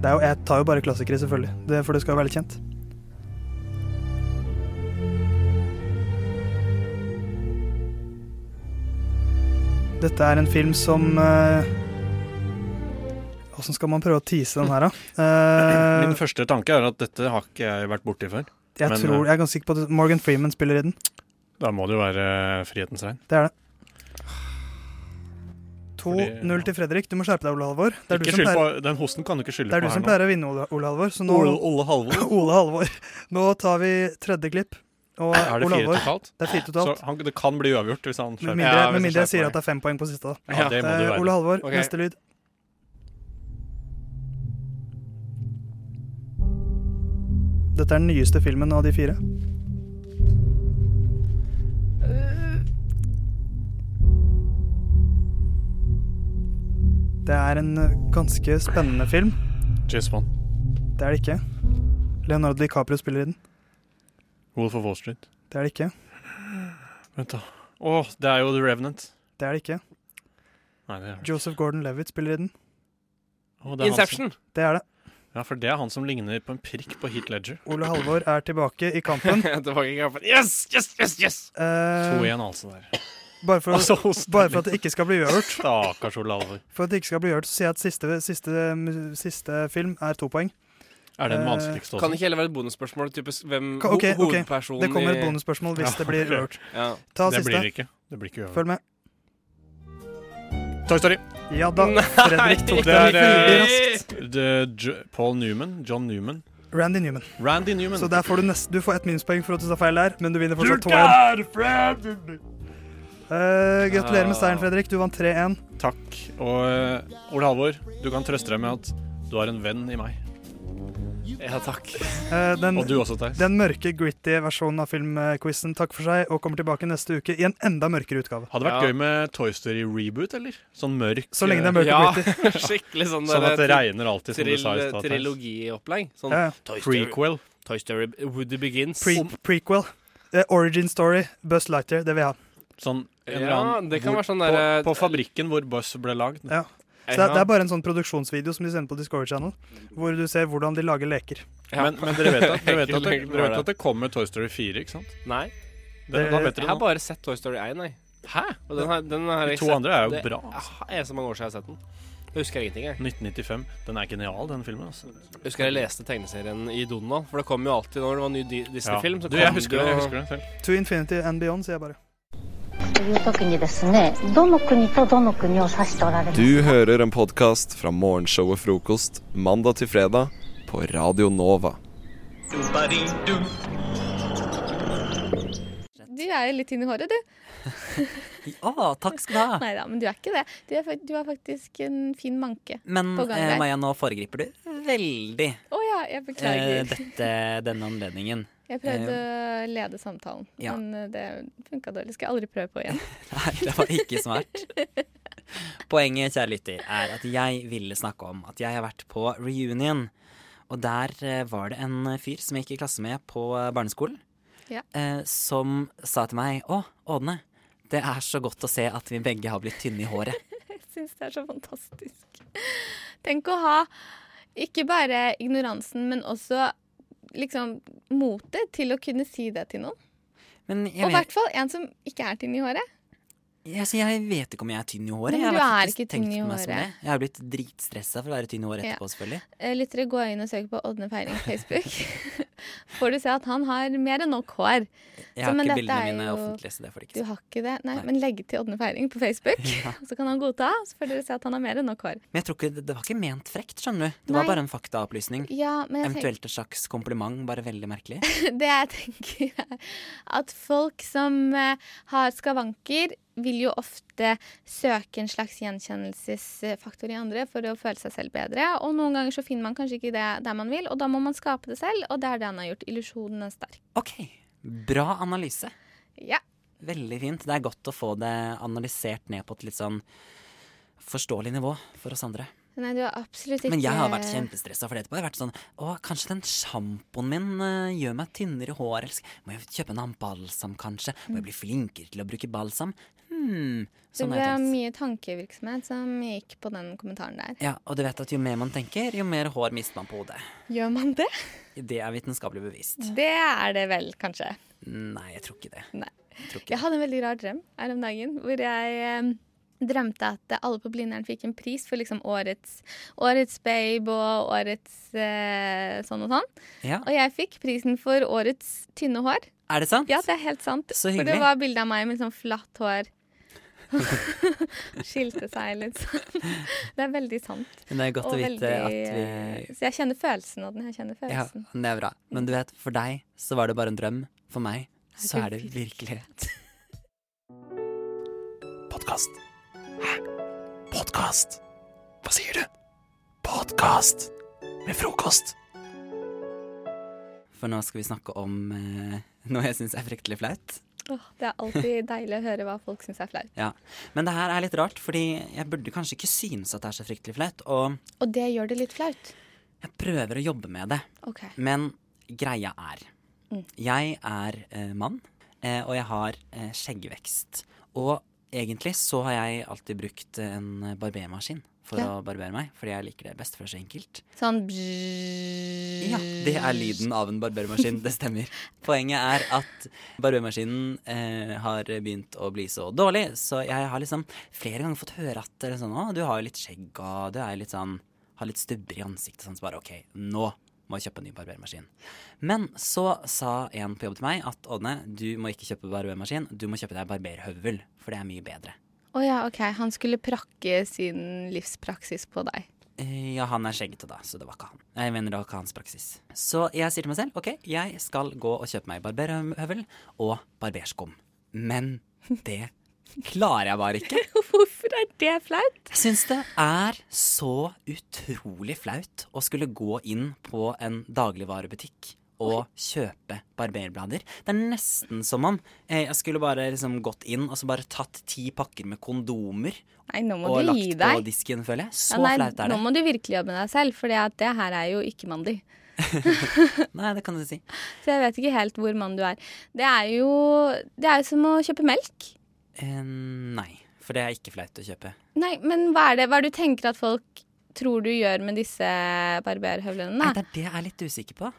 [SPEAKER 3] Det er jo, jeg tar jo bare klassikere, selvfølgelig, det, for det skal jo være litt kjent. Dette er en film som eh, Åssen skal man prøve å tease den her, da? Eh,
[SPEAKER 4] Min første tanke er at dette har ikke jeg vært borti før.
[SPEAKER 3] Jeg,
[SPEAKER 4] Men,
[SPEAKER 3] tror,
[SPEAKER 4] eh,
[SPEAKER 3] jeg er ganske sikker på at Morgan Freeman spiller i den.
[SPEAKER 4] Da må det jo være Frihetens regn.
[SPEAKER 3] Det er det.
[SPEAKER 4] Fordi-
[SPEAKER 3] 2-0 til Fredrik. Du må skjerpe deg, Ole Halvor. Det er du
[SPEAKER 4] Ikke
[SPEAKER 3] som
[SPEAKER 4] skyld
[SPEAKER 3] pleier,
[SPEAKER 4] på, den hosten kan du ikke skylde
[SPEAKER 3] det
[SPEAKER 4] på
[SPEAKER 3] er, du
[SPEAKER 4] her
[SPEAKER 3] som
[SPEAKER 4] nå.
[SPEAKER 3] pleier å vinne, Ole, Ole Halvor. Så nå,
[SPEAKER 4] Ole, Ole Halvor.
[SPEAKER 3] Ole Halvor. Nå tar vi tredje klipp. Og
[SPEAKER 4] Er det
[SPEAKER 3] Ole
[SPEAKER 4] fire
[SPEAKER 3] Halvor,
[SPEAKER 4] totalt?
[SPEAKER 3] det er fire
[SPEAKER 4] Så
[SPEAKER 3] totalt.
[SPEAKER 4] han, det kan bli uavgjort hvis han
[SPEAKER 3] Med
[SPEAKER 4] skjerper
[SPEAKER 3] mindre,
[SPEAKER 4] Ja, hvis
[SPEAKER 3] med
[SPEAKER 4] han
[SPEAKER 3] mindre jeg
[SPEAKER 4] skjerper
[SPEAKER 3] sier at
[SPEAKER 4] seg.
[SPEAKER 3] det er fem poeng på siste. da.
[SPEAKER 4] Ja, det må
[SPEAKER 3] Eh,
[SPEAKER 4] det være.
[SPEAKER 3] Ole Halvor,
[SPEAKER 2] Ok.
[SPEAKER 3] neste lyd. Dette er den nyeste filmen av de fire. Det er en eh, ganske spennende film.
[SPEAKER 4] James Bond.
[SPEAKER 3] Det er det ikke. Leonardo DiCaprio spiller i den.
[SPEAKER 4] Wolf of Wall Street.
[SPEAKER 3] Det er det ikke.
[SPEAKER 4] Vent, da. Å, det er jo The Revenant.
[SPEAKER 3] Det er det ikke.
[SPEAKER 4] Nei, det er,
[SPEAKER 3] Joseph Gordon-Levitt spiller i den.
[SPEAKER 4] Å, det er han som-
[SPEAKER 2] Inception!
[SPEAKER 3] Det er det.
[SPEAKER 4] Ja, for det er han som ligner på en prikk på Heat Ledger.
[SPEAKER 3] Ole Halvor er tilbake i kampen.
[SPEAKER 2] Tilbake i kampen. Yes, yes, yes! yes!
[SPEAKER 3] Eh,
[SPEAKER 4] 2-1, altså. der.
[SPEAKER 3] bare, for,
[SPEAKER 4] Altså,
[SPEAKER 3] å-
[SPEAKER 4] hosten
[SPEAKER 3] bare for at det ikke skal bli uavgjort,
[SPEAKER 4] Stakkars Ole Alvor.
[SPEAKER 3] For at det ikke skal bli uavgjort, så sier jeg at siste, siste, siste film er to poeng.
[SPEAKER 4] Er det den
[SPEAKER 3] Eh,
[SPEAKER 4] vanskeligste
[SPEAKER 2] Kan
[SPEAKER 4] også?
[SPEAKER 2] ikke heller være et bonusspørsmål? Type s- hvem
[SPEAKER 3] Ka- ok, ok.
[SPEAKER 2] ho hovedpersonen
[SPEAKER 3] Det kommer et
[SPEAKER 2] i-
[SPEAKER 3] bonusspørsmål hvis
[SPEAKER 4] Ja,
[SPEAKER 3] det blir
[SPEAKER 4] ok.
[SPEAKER 3] uavgjort.
[SPEAKER 2] Ja.
[SPEAKER 3] Ta
[SPEAKER 4] Det blir
[SPEAKER 3] siste.
[SPEAKER 4] det ikke. Det blir ikke uavgjort.
[SPEAKER 3] Følg med.
[SPEAKER 4] Toy Story.
[SPEAKER 3] Ja da.
[SPEAKER 2] Nei!
[SPEAKER 3] Fredrik tok
[SPEAKER 4] Det er,
[SPEAKER 3] den veldig
[SPEAKER 4] eh,
[SPEAKER 3] raskt.
[SPEAKER 4] Det- J- Paul Newman. John Newman.
[SPEAKER 3] Randy Newman.
[SPEAKER 4] Randy Newman.
[SPEAKER 3] Så der får du, nest, du får ett minuspoeng for at du sa feil der, men du vinner fortsatt 2-1. Eh, gratulerer med
[SPEAKER 4] Ah.
[SPEAKER 3] seieren, Fredrik. Du vant 3-1.
[SPEAKER 4] Takk. Og eh, Ole Halvor, du kan trøste deg med at du har en venn i meg.
[SPEAKER 2] Ja, takk.
[SPEAKER 3] Eh, den,
[SPEAKER 4] Og du også, Theis.
[SPEAKER 3] den mørke, gritty versjonen av filmquizen takker for seg og kommer tilbake neste uke i en enda mørkere utgave.
[SPEAKER 4] Hadde vært
[SPEAKER 2] Ja.
[SPEAKER 4] gøy med Toy Story reboot, eller? Sånn mørk
[SPEAKER 3] Så lenge det er
[SPEAKER 4] eh,
[SPEAKER 3] mørkt
[SPEAKER 2] Ja,
[SPEAKER 3] og gritty.
[SPEAKER 2] skikkelig sånn
[SPEAKER 4] Sånn at det
[SPEAKER 2] der
[SPEAKER 4] regner alltid, som du
[SPEAKER 2] trill-
[SPEAKER 4] sa i stad. Theis.
[SPEAKER 2] trilogiopplegg. Sånn
[SPEAKER 3] Ja, ja.
[SPEAKER 2] Toy Story, Sånn
[SPEAKER 4] Prequel.
[SPEAKER 2] Toy Story Woody Begins.
[SPEAKER 3] Pre prequel. Eh, origin story. Buzz Lightyear. Det vil jeg ha.
[SPEAKER 4] Sånn en eller
[SPEAKER 2] Ja,
[SPEAKER 4] annen
[SPEAKER 2] det kan
[SPEAKER 4] hvor-
[SPEAKER 2] være sånn
[SPEAKER 4] på,
[SPEAKER 2] derre
[SPEAKER 4] på fabrikken hvor Buzz ble lagd.
[SPEAKER 3] Ja. Så det, er- det er bare en sånn produksjonsvideo som de sender på Discovery Channel, hvor du ser hvordan de lager leker.
[SPEAKER 2] Ja.
[SPEAKER 4] Men, men dere vet at, dere vet at, det,
[SPEAKER 2] Enkelt
[SPEAKER 4] dere vet
[SPEAKER 2] var
[SPEAKER 4] at det kommer Toy Story 4, ikke sant?
[SPEAKER 2] Nei.
[SPEAKER 4] Det, da vet
[SPEAKER 2] Jeg
[SPEAKER 4] dere
[SPEAKER 2] har
[SPEAKER 4] det nå.
[SPEAKER 2] bare sett Toy Story 1, jeg. Hæ? Og den har, den har
[SPEAKER 4] De
[SPEAKER 2] jeg
[SPEAKER 4] to
[SPEAKER 2] sett-
[SPEAKER 4] andre er jo
[SPEAKER 2] det-
[SPEAKER 4] bra, altså.
[SPEAKER 2] Ja, Det er så mange år siden jeg har sett den. Jeg husker ingenting, jeg.
[SPEAKER 4] 1995. Den er genial, den filmen. Altså.
[SPEAKER 2] jeg. Husker jeg leste tegneserien i Donald, for det kom jo alltid når det var en ny Di- Disney-film.
[SPEAKER 4] Ja.
[SPEAKER 2] så
[SPEAKER 4] Du, jeg
[SPEAKER 2] kom
[SPEAKER 4] husker
[SPEAKER 2] det
[SPEAKER 4] det,
[SPEAKER 2] jo-
[SPEAKER 4] jeg husker det selv.
[SPEAKER 3] To infinity and beyond, sier jeg bare.
[SPEAKER 10] という時にですねどの国とどの国を指しておられます
[SPEAKER 1] Du hører en podkast fra morgenshowet Frokost mandag til fredag på Radio Nova.
[SPEAKER 7] Du er jo litt tynn i håret, du.
[SPEAKER 11] Ja, takk skal du ha.
[SPEAKER 7] Nei da, men du er ikke det. Du er, fak- du er faktisk en fin manke.
[SPEAKER 11] Men
[SPEAKER 7] På gang
[SPEAKER 11] eh,
[SPEAKER 7] der.
[SPEAKER 11] Maja, nå foregriper du veldig
[SPEAKER 7] Å ja, jeg
[SPEAKER 11] eh,
[SPEAKER 7] beklager.
[SPEAKER 11] dette, denne anledningen. Eh,
[SPEAKER 7] Jeg prøvde å lede samtalen,
[SPEAKER 11] ja.
[SPEAKER 7] men eh, det funka dårlig. Skal jeg aldri prøve på igjen.
[SPEAKER 11] Nei, det var ikke smart. Poenget, kjære lytter, er at jeg ville snakke om at jeg har vært på reunion. Og der eh, var det en fyr som jeg gikk i klasse med på eh, barneskolen,
[SPEAKER 7] Ja.
[SPEAKER 11] eh, som sa til meg Å, Ådne, det er så godt å se at vi begge har blitt tynne i håret.
[SPEAKER 7] Jeg syns det er så fantastisk. Tenk å ha ikke bare ignoransen, men også liksom motet til å kunne si det til noen.
[SPEAKER 11] Men
[SPEAKER 7] Og
[SPEAKER 11] jeg
[SPEAKER 7] i
[SPEAKER 11] vet,
[SPEAKER 7] hvert fall en som ikke er tynn i håret.
[SPEAKER 11] altså, jeg vet ikke om jeg er tynn i håret.
[SPEAKER 7] Men
[SPEAKER 11] jeg
[SPEAKER 7] du
[SPEAKER 11] har
[SPEAKER 7] er ikke tynn
[SPEAKER 11] tenkt
[SPEAKER 7] i
[SPEAKER 11] på meg som
[SPEAKER 7] håret.
[SPEAKER 11] det. Jeg har blitt dritstressa for å være tynn i håret
[SPEAKER 7] Ja.
[SPEAKER 11] etterpå, selvfølgelig.
[SPEAKER 7] Eh, Lyttere, gå inn og søk på Ådne Feiring på Facebook. Får du se at han har mer enn nok hår.
[SPEAKER 11] Jeg
[SPEAKER 7] Så,
[SPEAKER 11] har
[SPEAKER 7] men
[SPEAKER 11] ikke
[SPEAKER 7] dette
[SPEAKER 11] bildene
[SPEAKER 7] er
[SPEAKER 11] mine
[SPEAKER 7] jo-
[SPEAKER 11] offentlige, så det får de
[SPEAKER 7] Du
[SPEAKER 11] ikke se.
[SPEAKER 7] har ikke det? Nei,
[SPEAKER 11] Nei.
[SPEAKER 7] men legg til Ådne Feiring på Facebook, så kan han godta. Så får dere se at han har mer enn nok hår.
[SPEAKER 11] Men jeg tror ikke, det det var ikke ment frekt, skjønner du. Det
[SPEAKER 7] Nei.
[SPEAKER 11] var bare en faktaopplysning.
[SPEAKER 7] Ja, men jeg tenker,
[SPEAKER 11] Eventuelt et slags kompliment, bare veldig merkelig.
[SPEAKER 7] det jeg tenker er at folk som eh, har skavanker, vil jo ofte søke en slags gjenkjennelsesfaktor i andre for å føle seg selv bedre. Og noen ganger så finner man kanskje ikke det der man vil, og da må man skape det selv. Og det er det han har gjort. Illusjonen er sterk.
[SPEAKER 11] Ok, bra analyse.
[SPEAKER 7] Ja.
[SPEAKER 11] Veldig fint. Det er godt å få det analysert ned på et litt sånn forståelig nivå for oss andre.
[SPEAKER 7] Nei, du har absolutt ikke
[SPEAKER 11] Men jeg har vært kjempestressa for det etterpå. Jeg har vært sånn Å, kanskje den sjampoen min eh, gjør meg tynnere i håret. eller sk- Må jeg kjøpe en annen balsam, kanskje? Må jeg bli flinkere til å bruke balsam? Hmm.
[SPEAKER 7] Det
[SPEAKER 11] Sånn har
[SPEAKER 7] ble
[SPEAKER 11] jeg tenkt.
[SPEAKER 7] mye tankevirksomhet som gikk på den kommentaren der.
[SPEAKER 11] Ja, og du vet at jo mer man tenker, jo mer hår mister man på hodet.
[SPEAKER 7] Gjør man det?
[SPEAKER 11] Det er vitenskapelig bevist.
[SPEAKER 7] Det er det vel, kanskje.
[SPEAKER 11] Nei, jeg tror ikke det.
[SPEAKER 7] Nei.
[SPEAKER 11] Jeg tror ikke
[SPEAKER 7] Jeg hadde en veldig rar drøm her om dagen, hvor jeg eh, drømte at alle på Blindern fikk en pris for liksom årets, årets babe og årets eh, sånn og sånn.
[SPEAKER 11] det. Ja.
[SPEAKER 7] Og jeg fikk prisen for årets tynne hår.
[SPEAKER 11] Er det sant?
[SPEAKER 7] Ja, det er helt sant.
[SPEAKER 11] Så
[SPEAKER 7] For
[SPEAKER 11] hyggelig.
[SPEAKER 7] det var bilde av meg med sånn flatt hår. Skilte seg, liksom. Det er veldig sant.
[SPEAKER 11] Men det er godt å
[SPEAKER 7] Og
[SPEAKER 11] vite
[SPEAKER 7] veldig-
[SPEAKER 11] at vi-
[SPEAKER 7] Så jeg kjenner følelsen av den. Jeg kjenner
[SPEAKER 11] Ja,
[SPEAKER 7] følelsen.
[SPEAKER 11] men det er bra. Men du vet, for deg så var det bare en drøm. For meg så
[SPEAKER 7] Er
[SPEAKER 11] er
[SPEAKER 7] det
[SPEAKER 11] det virkelighet.
[SPEAKER 1] Podkast. Hæ? Podkast? Hva sier du? Podkast med frokost.
[SPEAKER 11] For nå skal vi snakke om eh, noe jeg syns er fryktelig flaut.
[SPEAKER 7] Åh, det er alltid deilig å høre hva folk syns er flaut.
[SPEAKER 11] Ja. Men det her er litt rart, fordi jeg burde kanskje ikke synes at det er så fryktelig flaut. Og
[SPEAKER 7] Og det gjør det litt flaut.
[SPEAKER 11] jeg prøver å jobbe med det.
[SPEAKER 7] OK.
[SPEAKER 11] Men greia er
[SPEAKER 7] Mm.
[SPEAKER 11] Jeg er eh, mann, eh, og jeg har eh, skjeggvekst. Og egentlig så har jeg alltid brukt en barbermaskin for
[SPEAKER 7] Ja.
[SPEAKER 11] å barbere meg, fordi jeg liker det best for så enkelt.
[SPEAKER 7] Sånn bzzz.
[SPEAKER 11] Ja, det er lyden av en barbermaskin, det stemmer. Poenget er at barbermaskinen eh, har begynt å bli så dårlig, så jeg har liksom flere ganger fått høre at det er sånn, å, du har jo litt skjegg, og du er jo litt sånn, har litt stubber i ansiktet, sånn, så bare ok, nå må jeg kjøpe en ny barbermaskin. Men så sa en på jobb til meg at Ådne, du må ikke kjøpe barbermaskin, du må kjøpe deg barberhøvel, for det er mye bedre.
[SPEAKER 7] Å ja, OK. Han skulle prakke sin livspraksis på deg.
[SPEAKER 11] Eh, Ja, han er skjeggete, da, så det var ikke han. Jeg mener det var ikke hans praksis. Så jeg sier til meg selv OK, jeg skal gå og kjøpe meg barberhøvel og barberskum. Men det klarer jeg bare ikke.
[SPEAKER 7] Hvorfor er det flaut?
[SPEAKER 11] Jeg syns det er så utrolig flaut å skulle gå inn på en dagligvarebutikk og kjøpe barberblader. Det er nesten som om eh, jeg skulle bare liksom gått inn og så bare tatt ti pakker med kondomer
[SPEAKER 7] Nei, nå må
[SPEAKER 11] og
[SPEAKER 7] du
[SPEAKER 11] lagt
[SPEAKER 7] gi
[SPEAKER 11] på
[SPEAKER 7] deg.
[SPEAKER 11] disken, føler jeg.
[SPEAKER 7] Ja,
[SPEAKER 11] Så
[SPEAKER 7] nei,
[SPEAKER 11] flaut er
[SPEAKER 7] Nå
[SPEAKER 11] det.
[SPEAKER 7] må du virkelig jobbe med deg selv, for det her er jo ikke mandig.
[SPEAKER 11] Nei, det kan du si.
[SPEAKER 7] Så jeg vet ikke helt hvor mann du er. Det er jo det er jo som å kjøpe melk.
[SPEAKER 11] Eh, nei, for det er ikke flaut å kjøpe.
[SPEAKER 7] Nei, men hva er det Hva er det du tenker at folk tror du gjør med disse barberhøvlene?
[SPEAKER 11] Nei, det er det jeg er litt usikker på.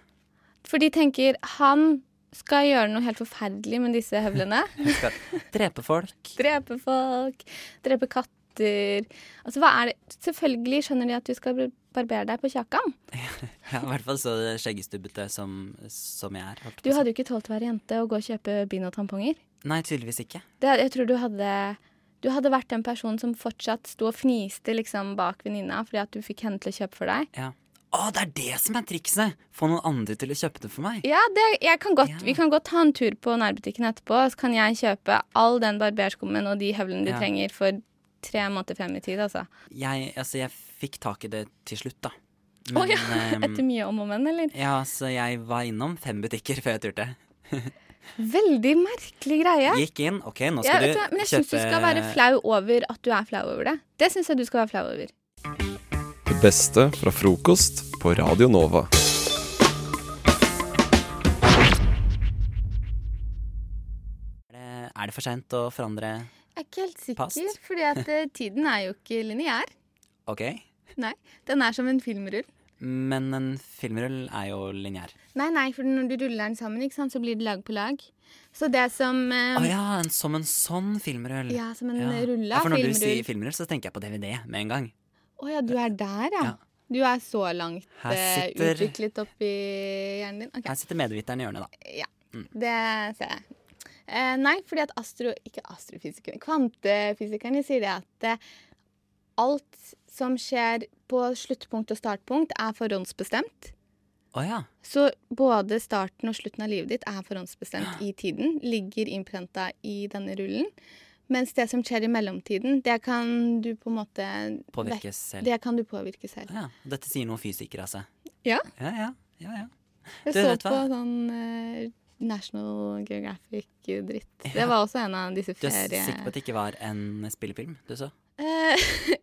[SPEAKER 7] For de tenker han skal gjøre noe helt forferdelig med disse høvlene.
[SPEAKER 11] Jeg skal drepe folk.
[SPEAKER 7] drepe folk, drepe katter. Altså, hva er det? Selvfølgelig skjønner de at du skal barbere deg på kjakan.
[SPEAKER 11] Ja, I hvert fall så skjeggestubbete som, som jeg er. holdt
[SPEAKER 7] Du
[SPEAKER 11] på å si.
[SPEAKER 7] hadde jo ikke tålt å være jente og gå og kjøpe bind og tamponger.
[SPEAKER 11] Nei, tydeligvis ikke.
[SPEAKER 7] Det, jeg tror du hadde Du hadde vært den personen som fortsatt sto og fniste liksom bak venninna fordi at du fikk henne til å kjøpe for deg.
[SPEAKER 11] Ja. Å, det er det som er trikset! Få noen andre til å kjøpe det for meg.
[SPEAKER 7] Ja, det, jeg kan godt, Vi kan godt ta en tur på nærbutikken etterpå, så kan jeg kjøpe all den barberskummen og de høvlene du
[SPEAKER 11] Ja.
[SPEAKER 7] trenger for tre måneder frem i tid, altså.
[SPEAKER 11] Jeg, altså, jeg fikk tak i det til slutt, da. ehm,
[SPEAKER 7] Å ja, etter mye om og men, eller?
[SPEAKER 11] Ja, så jeg var innom fem butikker før jeg turte.
[SPEAKER 7] Veldig merkelig greie.
[SPEAKER 11] Gikk inn. OK, nå
[SPEAKER 7] Ja,
[SPEAKER 11] skal du
[SPEAKER 7] vet hva,
[SPEAKER 11] kjøpe
[SPEAKER 7] Men jeg syns du skal være flau over at du er flau over det. Det syns jeg du skal være flau over.
[SPEAKER 1] Det beste fra frokost på Radio Nova.
[SPEAKER 11] Eh, Er det for seint å forandre
[SPEAKER 7] Jeg er ikke helt sikker,
[SPEAKER 11] Past.
[SPEAKER 7] fordi at eh, tiden er jo ikke lineær.
[SPEAKER 11] OK?
[SPEAKER 7] Nei, Den er som en filmrull.
[SPEAKER 11] Men en filmrull er jo lineær.
[SPEAKER 7] Nei, nei, for når du ruller den sammen, ikke sant, så blir det lag på lag. Så det som eh,
[SPEAKER 11] Å ja, en, som en sånn filmrull.
[SPEAKER 7] Ja, som en rulle
[SPEAKER 11] ja,
[SPEAKER 7] av
[SPEAKER 11] For når
[SPEAKER 7] filmrull.
[SPEAKER 11] du sier filmrull, så tenker jeg på DVD med en gang.
[SPEAKER 7] Å ja, du er der, ja. Du er så langt
[SPEAKER 11] Her
[SPEAKER 7] eh,
[SPEAKER 11] sitter-
[SPEAKER 7] utviklet opp i hjernen din. Ok,
[SPEAKER 11] Her sitter medviteren i hjørnet, da.
[SPEAKER 7] Ja,
[SPEAKER 11] Mm.
[SPEAKER 7] det ser jeg. Eh, nei, fordi at astro... Ikke astrofysikeren. Kvantefysikerne sier det at eh, alt som skjer på sluttpunkt og startpunkt, er forhåndsbestemt.
[SPEAKER 11] Å ja.
[SPEAKER 7] Så både starten og slutten av livet ditt er forhåndsbestemt i tiden. Ligger innprenta i denne rullen. Mens det som skjer i mellomtiden, det kan du på en måte
[SPEAKER 11] Påvirke
[SPEAKER 7] vek-
[SPEAKER 11] selv.
[SPEAKER 7] Det kan du påvirke selv.
[SPEAKER 11] ja. Dette sier noen fysikere, altså.
[SPEAKER 7] Ja.
[SPEAKER 11] Ja, ja. ja, ja. Du,
[SPEAKER 7] Jeg så
[SPEAKER 11] vet du
[SPEAKER 7] på
[SPEAKER 11] hva?
[SPEAKER 7] sånn eh, National Geographic-dritt.
[SPEAKER 11] Ja.
[SPEAKER 7] Det var også en av disse eh,
[SPEAKER 11] Du er
[SPEAKER 7] ferie...
[SPEAKER 11] sikker på at det ikke var en spillefilm du så?
[SPEAKER 7] Eh,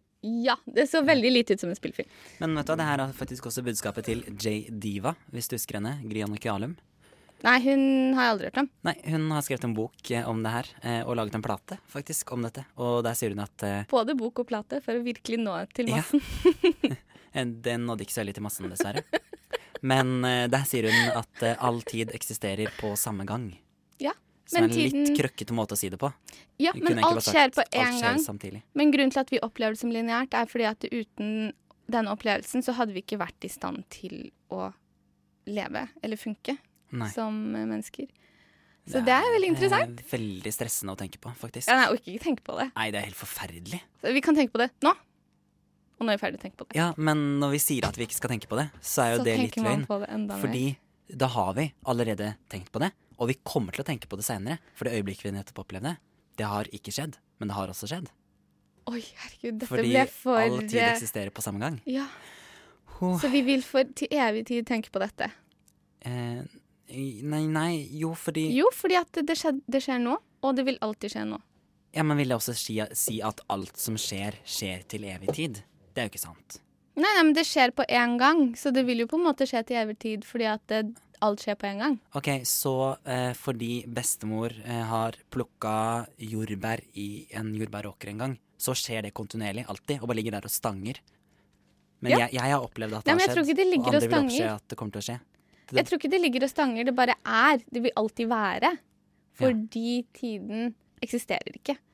[SPEAKER 7] ja, det så veldig lite ut som en spillfilm.
[SPEAKER 11] Men vet du hva, det her er faktisk også budskapet til J. Diva, hvis du husker henne. Grian Kialum.
[SPEAKER 7] Nei, hun har jeg aldri hørt om.
[SPEAKER 11] Nei, hun har skrevet en bok eh, om det her, eh, og laget en plate faktisk om dette. Og der sier hun at eh,
[SPEAKER 7] Både bok og plate, for å virkelig nå til
[SPEAKER 11] Ja.
[SPEAKER 7] massen.
[SPEAKER 11] Den nådde ikke så veldig til massen, dessverre. Men eh, der sier hun at eh, all tid eksisterer på samme gang.
[SPEAKER 7] Ja.
[SPEAKER 11] Som er en litt krøkkete måte å si det på.
[SPEAKER 7] Ja,
[SPEAKER 11] Hun kunne
[SPEAKER 7] men
[SPEAKER 11] egentlig
[SPEAKER 7] alt
[SPEAKER 11] bare sagt,
[SPEAKER 7] skjer på
[SPEAKER 11] alt
[SPEAKER 7] én
[SPEAKER 11] skjer
[SPEAKER 7] gang.
[SPEAKER 11] samtidig.
[SPEAKER 7] Men grunnen til at vi opplever det som lineært, er fordi at uten den opplevelsen så hadde vi ikke vært i stand til å leve eller funke
[SPEAKER 11] Nei.
[SPEAKER 7] som eh, mennesker. Så det er veldig interessant.
[SPEAKER 11] Eh, Veldig stressende å tenke på, faktisk.
[SPEAKER 7] Ja, nei, jeg orker ikke tenke på det.
[SPEAKER 11] Nei, det er helt forferdelig.
[SPEAKER 7] Så vi kan tenke på det nå. Og når vi er ferdig å tenke på det.
[SPEAKER 11] Ja, men når vi sier at vi ikke skal tenke på det, så er jo
[SPEAKER 7] Så
[SPEAKER 11] det litt
[SPEAKER 7] tenker man
[SPEAKER 11] løgn.
[SPEAKER 7] på det enda mer.
[SPEAKER 11] Fordi da har vi allerede tenkt på det, og vi kommer til å tenke på det seinere. For det øyeblikket vi nettopp opplevde, det har ikke skjedd, men det har også skjedd.
[SPEAKER 7] Oi, herregud, dette
[SPEAKER 11] Fordi
[SPEAKER 7] ble for
[SPEAKER 11] all tid
[SPEAKER 7] eh,
[SPEAKER 11] eksisterer på samme gang.
[SPEAKER 7] Ja.
[SPEAKER 11] Huh.
[SPEAKER 7] Så vi vil for til evig tid tenke på dette.
[SPEAKER 11] Eh, nei, nei, jo, fordi
[SPEAKER 7] Jo, fordi at det, skjed, det skjer nå, og det vil alltid skje nå.
[SPEAKER 11] Ja, men vil det også si, si at alt som skjer, skjer til evig tid? Det er jo ikke sant.
[SPEAKER 7] Nei, nei, men det skjer på én gang, så det vil jo på en måte skje til evig tid, fordi at det, alt skjer på én gang.
[SPEAKER 11] Ok, så eh, fordi bestemor eh, har plukka jordbær i en jordbæråker en gang, så skjer det kontinuerlig alltid, og bare ligger der og stanger. Men
[SPEAKER 7] Ja.
[SPEAKER 11] jeg, jeg har opplevd at det
[SPEAKER 7] Nei, men
[SPEAKER 11] har
[SPEAKER 7] jeg
[SPEAKER 11] skjedd,
[SPEAKER 7] tror ikke det ligger
[SPEAKER 11] og
[SPEAKER 7] og
[SPEAKER 11] andre vil
[SPEAKER 7] stanger.
[SPEAKER 11] oppskje at det kommer til å skje. Det-
[SPEAKER 7] Jeg tror ikke det ligger og stanger, det bare er. Det vil alltid være. Fordi tiden eksisterer ikke.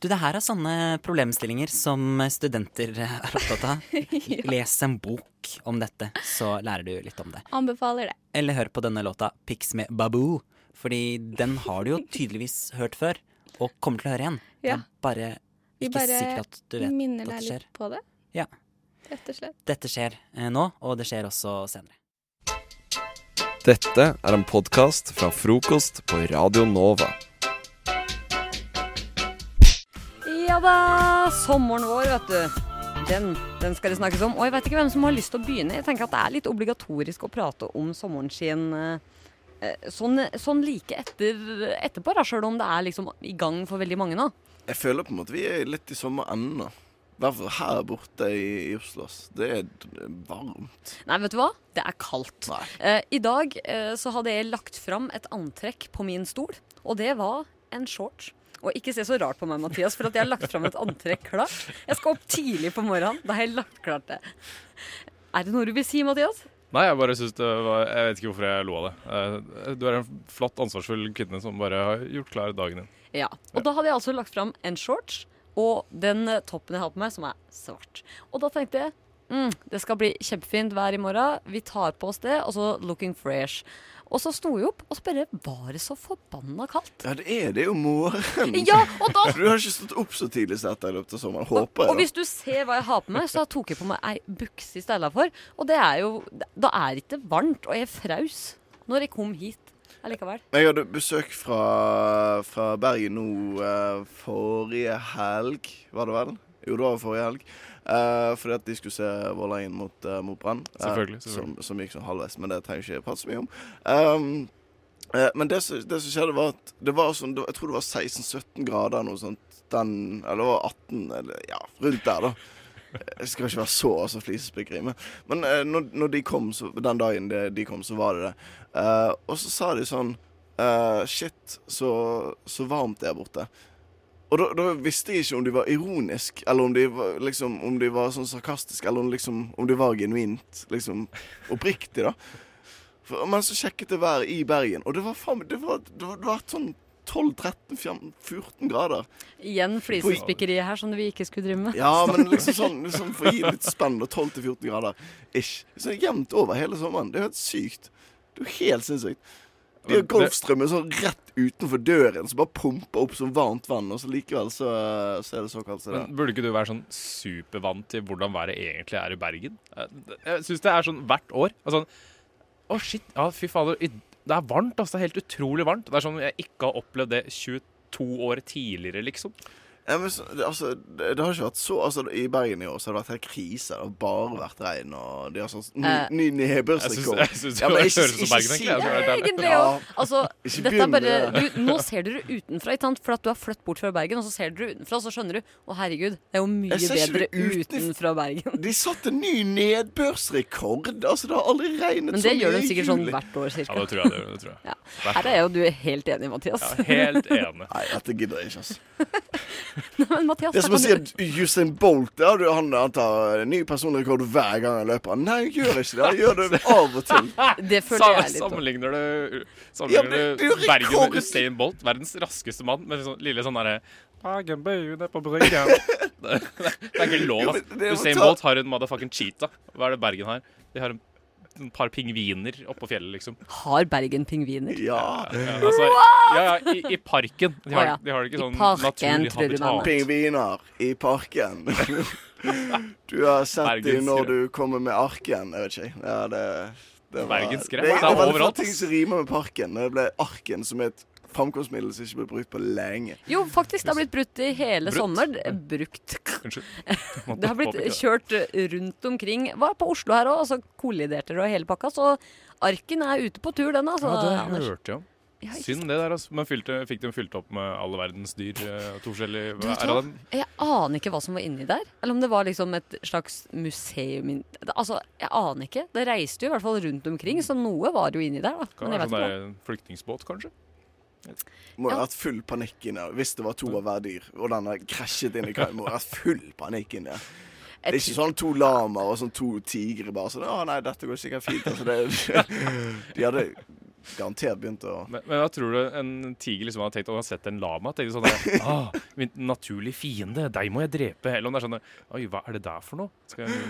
[SPEAKER 11] Du, det her er sånne problemstillinger som studenter eh, er opptatt av. Les en bok om dette, så lærer du litt om det.
[SPEAKER 7] Anbefaler det.
[SPEAKER 11] Eller hør på denne låta 'Pics med Baboo', fordi den har du jo tydeligvis hørt før, og kommer til å høre igjen. Det
[SPEAKER 7] Ja.
[SPEAKER 11] er bare
[SPEAKER 7] Vi
[SPEAKER 11] ikke
[SPEAKER 7] bare
[SPEAKER 11] sikkert at du vet
[SPEAKER 7] minner
[SPEAKER 11] at det
[SPEAKER 7] deg
[SPEAKER 11] skjer.
[SPEAKER 7] litt på det.
[SPEAKER 11] Ja.
[SPEAKER 7] Rett og slett.
[SPEAKER 11] Dette skjer eh, nå, og det skjer også senere.
[SPEAKER 1] Dette er en podkast fra frokost på Radio Nova.
[SPEAKER 12] Ja da, sommeren vår, vet du. Den, den skal det snakkes om. Og jeg vet ikke hvem som har lyst til å begynne. Jeg tenker at det er litt obligatorisk å prate om sommeren sin eh, eh, sånn, sånn like etter, etterpå, da, sjøl om det er liksom i gang for veldig mange nå.
[SPEAKER 13] Jeg føler på en måte vi er litt i sommerenden nå. I hvert fall her borte i, i Oslo. ass. Det er d- varmt.
[SPEAKER 12] Nei, vet du hva? Det er kaldt. Eh, I dag eh, så hadde jeg lagt fram et antrekk på min stol, og det var en shorts. Og ikke se så rart på meg, Mathias, for at jeg har lagt fram et antrekk klart. Jeg skal opp tidlig på morgenen. Da har jeg lagt klart det. Er det noe du vil si, Mathias?
[SPEAKER 14] Nei, jeg bare synes det var Jeg vet ikke hvorfor jeg lo av det. Eh, Du er en flott, ansvarsfull kvinne som bare har gjort klar dagen din.
[SPEAKER 12] Ja. Og da hadde jeg altså lagt fram en shorts og den eh, toppen jeg har på meg, som er svart. Og da tenkte jeg mm, det skal bli kjempefint vær i morgen. Vi tar på oss det, og så looking fresh. Og så sto jeg opp, og så bare var det så forbanna kaldt.
[SPEAKER 13] Ja, det er det jo morgen.
[SPEAKER 12] Ja, og da-
[SPEAKER 13] For du har ikke stått opp så tidlig som dette i løpet av sommeren. Håper jeg.
[SPEAKER 12] Og hvis du ser hva jeg har på meg, så tok jeg på meg ei bukse i stedet for. Og det er jo Da er det ikke varmt, og jeg fraus når jeg kom hit allikevel.
[SPEAKER 13] Jeg hadde besøk fra, fra Bergen nå eh, forrige helg, var det vel? Jo, det var forrige helg. Eh, fordi at de skulle se Vålerengen mot, eh, mot Brann. eh,
[SPEAKER 14] Selvfølgelig, selvfølgelig.
[SPEAKER 13] Som, som gikk sånn halvveis, men det trenger jeg ikke prate så mye om. Ehm, eh, men det, som- det som skjedde, var at det var sånn det var- Jeg tror det var 16-17 grader noe sånt. Den, eller det var 18, eller ja, rundt der, da. Jeg skal ikke være så altså, flisespikkeri, men, men eh, når, når de kom, så, den dagen de, de kom, så var det det. Eh, og så sa de sånn eh, Shit, så, så varmt det er borte. Og da, da visste jeg ikke om de var ironisk, eller om de var, liksom, om de var sånn sarkastisk, eller om, liksom, om de var genuint liksom, oppriktig, da. For, men så sjekket jeg været i Bergen, og det var faen meg- det var, det var, det var sånn 12-13-14 grader.
[SPEAKER 12] Igjen flisespikkeriet her som vi ikke skulle drive med.
[SPEAKER 13] Ja, men liksom sånn, liksom for å gi det litt spenn, da, 12-14 grader ish. Så det er jevnt over hele sommeren. Det er jo helt sykt. Det er jo helt sinnssykt. De har
[SPEAKER 14] Men det-
[SPEAKER 13] golfstrømmen sånn rett utenfor døren, som bare pumper opp som varmt vann, og så likevel så, så er det såkalt så det
[SPEAKER 14] Men burde ikke du være sånn supervant til hvordan været egentlig er i Bergen? Eh, Jeg syns det er sånn hvert år. Altså, å, shit. Ja, fy fader. i- Det er varmt, altså. Det er helt utrolig varmt. Det er sånn jeg ikke har opplevd det 22 år tidligere, liksom.
[SPEAKER 13] ja, men, så, det- altså, det, det har ikke vært så altså, I Bergen i år så har det vært helt krise. Det har bare vært regn, og de har sånn ny,
[SPEAKER 12] Eh.
[SPEAKER 13] ny
[SPEAKER 14] Jeg
[SPEAKER 13] nedbørsrekord.
[SPEAKER 14] syns- jeg syns det høres ut som Bergen, egentlig, altså, helt ærlig.
[SPEAKER 12] Egentlig
[SPEAKER 13] Ja.
[SPEAKER 12] òg. Altså,
[SPEAKER 13] Ikke
[SPEAKER 12] dette er
[SPEAKER 13] begynn med
[SPEAKER 12] bare
[SPEAKER 13] det.
[SPEAKER 12] du, Nå ser dere utenfra, ikke sant? for at du har flyttet bort fra Bergen, og så ser dere utenfra, og så skjønner du Å, herregud, det er jo mye
[SPEAKER 13] Jeg ser ikke det
[SPEAKER 12] bedre
[SPEAKER 13] utenf-
[SPEAKER 12] utenfra Bergen.
[SPEAKER 13] De satte ny nedbørsrekord! Altså, det har aldri regnet
[SPEAKER 12] Men
[SPEAKER 13] så
[SPEAKER 12] det
[SPEAKER 13] mye
[SPEAKER 12] gjør
[SPEAKER 13] i
[SPEAKER 12] de sikkert sånn
[SPEAKER 13] juli.
[SPEAKER 12] hvert år, cirka.
[SPEAKER 14] Ja, det tror jeg. Det, det tror jeg.
[SPEAKER 12] Ja.
[SPEAKER 14] Hvert
[SPEAKER 12] Her er altså. jo du helt enig, Mathias.
[SPEAKER 14] Ja, helt enig.
[SPEAKER 13] Nei, dette gidder jeg ikke, altså.
[SPEAKER 12] Nei, men Mathias,
[SPEAKER 13] Det er
[SPEAKER 12] da
[SPEAKER 13] som å
[SPEAKER 12] kan
[SPEAKER 13] si
[SPEAKER 12] du-
[SPEAKER 13] at Usain Bolt ja, du, han, han tar eh, ny personlig rekord hver gang han løper. Nei, han gjør ikke det. Han gjør det av og til.
[SPEAKER 12] Det
[SPEAKER 14] Sam-
[SPEAKER 12] føler jeg litt om.
[SPEAKER 14] liksom. Sammenligner du,
[SPEAKER 13] Ja,
[SPEAKER 14] sammenligner
[SPEAKER 13] men det- det er
[SPEAKER 14] du
[SPEAKER 13] jo
[SPEAKER 14] Bergen
[SPEAKER 13] rekord.
[SPEAKER 14] med Usain Bolt, verdens raskeste mann, med sånn lille sånn derre
[SPEAKER 13] Ah,
[SPEAKER 14] Dagen bøyer ned på bryggen. det, det er ikke lov,
[SPEAKER 13] Jo, men
[SPEAKER 14] ass.
[SPEAKER 13] det er jo
[SPEAKER 14] Usain
[SPEAKER 13] ta-
[SPEAKER 14] Bolt har en motherfucking cheetah. Hva er det Bergen har? De har en et par pingviner oppå fjellet, liksom.
[SPEAKER 12] Har Bergen pingviner?
[SPEAKER 13] Ja.
[SPEAKER 14] Ja, altså, ja, ja i, i parken. De har,
[SPEAKER 12] Å, ja.
[SPEAKER 14] de har det ikke
[SPEAKER 12] I
[SPEAKER 14] sånn
[SPEAKER 12] parken,
[SPEAKER 14] naturlig
[SPEAKER 12] tror du, mamma.
[SPEAKER 14] habitat.
[SPEAKER 13] Pingviner i parken. Du har sett
[SPEAKER 14] Bergenskere.
[SPEAKER 13] dem når du kommer med arken. Jeg vet ikke. Ja, det, det var,
[SPEAKER 14] Bergenskere.
[SPEAKER 13] Det,
[SPEAKER 14] Det
[SPEAKER 13] det,
[SPEAKER 14] er
[SPEAKER 13] var veldig få
[SPEAKER 14] overalt,
[SPEAKER 13] ting
[SPEAKER 14] ass.
[SPEAKER 13] som rimer med parken. Når det ble arken, som er et framkomstmiddel som ikke ble brukt på lenge.
[SPEAKER 12] Jo, faktisk. Det har blitt brutt i hele
[SPEAKER 13] Brutt?
[SPEAKER 12] sommer. Eh, Brukt.
[SPEAKER 13] Unnskyld.
[SPEAKER 12] Det har blitt kjørt rundt omkring. Var på Oslo her òg, og så kolliderte det og hele pakka. Så arken er ute på tur, den altså.
[SPEAKER 14] Ja, det
[SPEAKER 12] Anders.
[SPEAKER 14] hørte jeg om.
[SPEAKER 12] Ja, ikke
[SPEAKER 14] Synd det der, altså. Man fylte, fikk dem fylt opp med alle verdens dyr. eh, To forskjellige
[SPEAKER 12] Du vet
[SPEAKER 14] hver av
[SPEAKER 12] hva?
[SPEAKER 14] dem.
[SPEAKER 12] Jeg aner ikke hva som var inni der. Eller om det var liksom et slags museum inn- Det- Altså, jeg aner ikke. Det reiste jo i hvert fall rundt omkring, så noe var jo inni der. da.
[SPEAKER 14] Kan
[SPEAKER 12] Men jeg
[SPEAKER 14] være
[SPEAKER 12] vet
[SPEAKER 14] sånn
[SPEAKER 12] ikke.
[SPEAKER 14] der flyktningbåt, kanskje.
[SPEAKER 13] Må ha vært full panikk inne hvis det var to
[SPEAKER 14] Mm.
[SPEAKER 13] av hver dyr, og den har krasjet inn i kaien. Må ha vært full panikk inne. Det er ikke sånn to lamaer og sånn to tigre bare sånn Å nei, dette går sikkert fint. Altså, det, de hadde garantert begynt å
[SPEAKER 14] Men, men hva tror du en tiger liksom hadde tenkt om han hadde sett en lama? Tenkte sånn der, ah, min naturlige fiende, deg må jeg drepe. Eller om det er sånn Oi, hva er det der for noe? Skal jeg...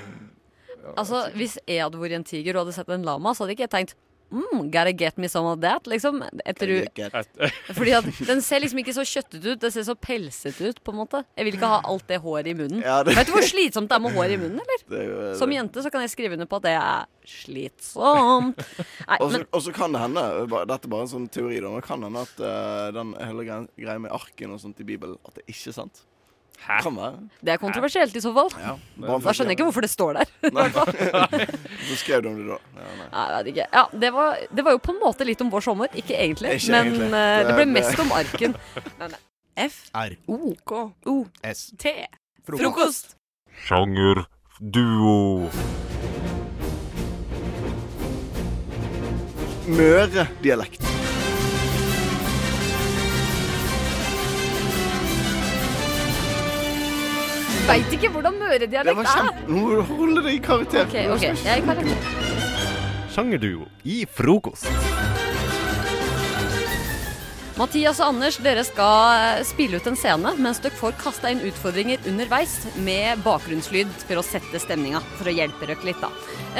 [SPEAKER 14] Ja,
[SPEAKER 12] Altså, Hvis jeg hadde vært en tiger og hadde sett en lama, så hadde ikke jeg tenkt mm, Gotta get me some of that, liksom. Etter du Fordi at Den ser liksom ikke så kjøttet ut, det ser så pelset ut. på en måte Jeg vil ikke ha alt det håret i munnen.
[SPEAKER 13] det-
[SPEAKER 12] Vet du hvor slitsomt det er med hår i munnen? eller?
[SPEAKER 13] det, eh, det-
[SPEAKER 12] Som jente så kan jeg skrive under på at det er slitsomt. Nei,
[SPEAKER 13] Og så-
[SPEAKER 12] men
[SPEAKER 13] Og så kan det hende ba- Dette er bare en sånn teori, da. Men kan det hende at eh, den hele greia, greia med arken og sånt i Bibelen, at det ikke er sant?
[SPEAKER 14] Hæ?
[SPEAKER 13] Kan være.
[SPEAKER 12] det er kontroversielt i så fall.
[SPEAKER 13] Ja.
[SPEAKER 12] Da skjønner jeg ikke hvorfor det står der. i
[SPEAKER 13] Nei.
[SPEAKER 12] hvert fall.
[SPEAKER 13] Så skrev du om det da. Ja, nei.
[SPEAKER 12] Nei, jeg vet ikke. Ja, det, var, det var jo på en måte litt om vår sommer. Ikke egentlig,
[SPEAKER 13] Ikke
[SPEAKER 12] men
[SPEAKER 13] egentlig.
[SPEAKER 12] eh, det
[SPEAKER 13] Det-
[SPEAKER 12] ble
[SPEAKER 13] det-
[SPEAKER 12] mest om arken. Men,
[SPEAKER 5] F.
[SPEAKER 15] R.
[SPEAKER 5] O. K. O.
[SPEAKER 15] S.
[SPEAKER 5] T.
[SPEAKER 15] Frokost.
[SPEAKER 5] Frokost.
[SPEAKER 6] Sjangerduo.
[SPEAKER 13] Møre-dialekt.
[SPEAKER 12] Veit ikke hvordan
[SPEAKER 13] Det var
[SPEAKER 12] møredialekt er.
[SPEAKER 13] kjempe... Nå må du holde deg i karakter.
[SPEAKER 12] OK, ok, jeg kan ikke
[SPEAKER 15] Sjangerduo i frokost.
[SPEAKER 12] Mathias og Anders, dere skal eh, spille ut en scene mens dere får kasta inn utfordringer underveis med bakgrunnslyd for å sette stemninga, for å hjelpe dere litt, da.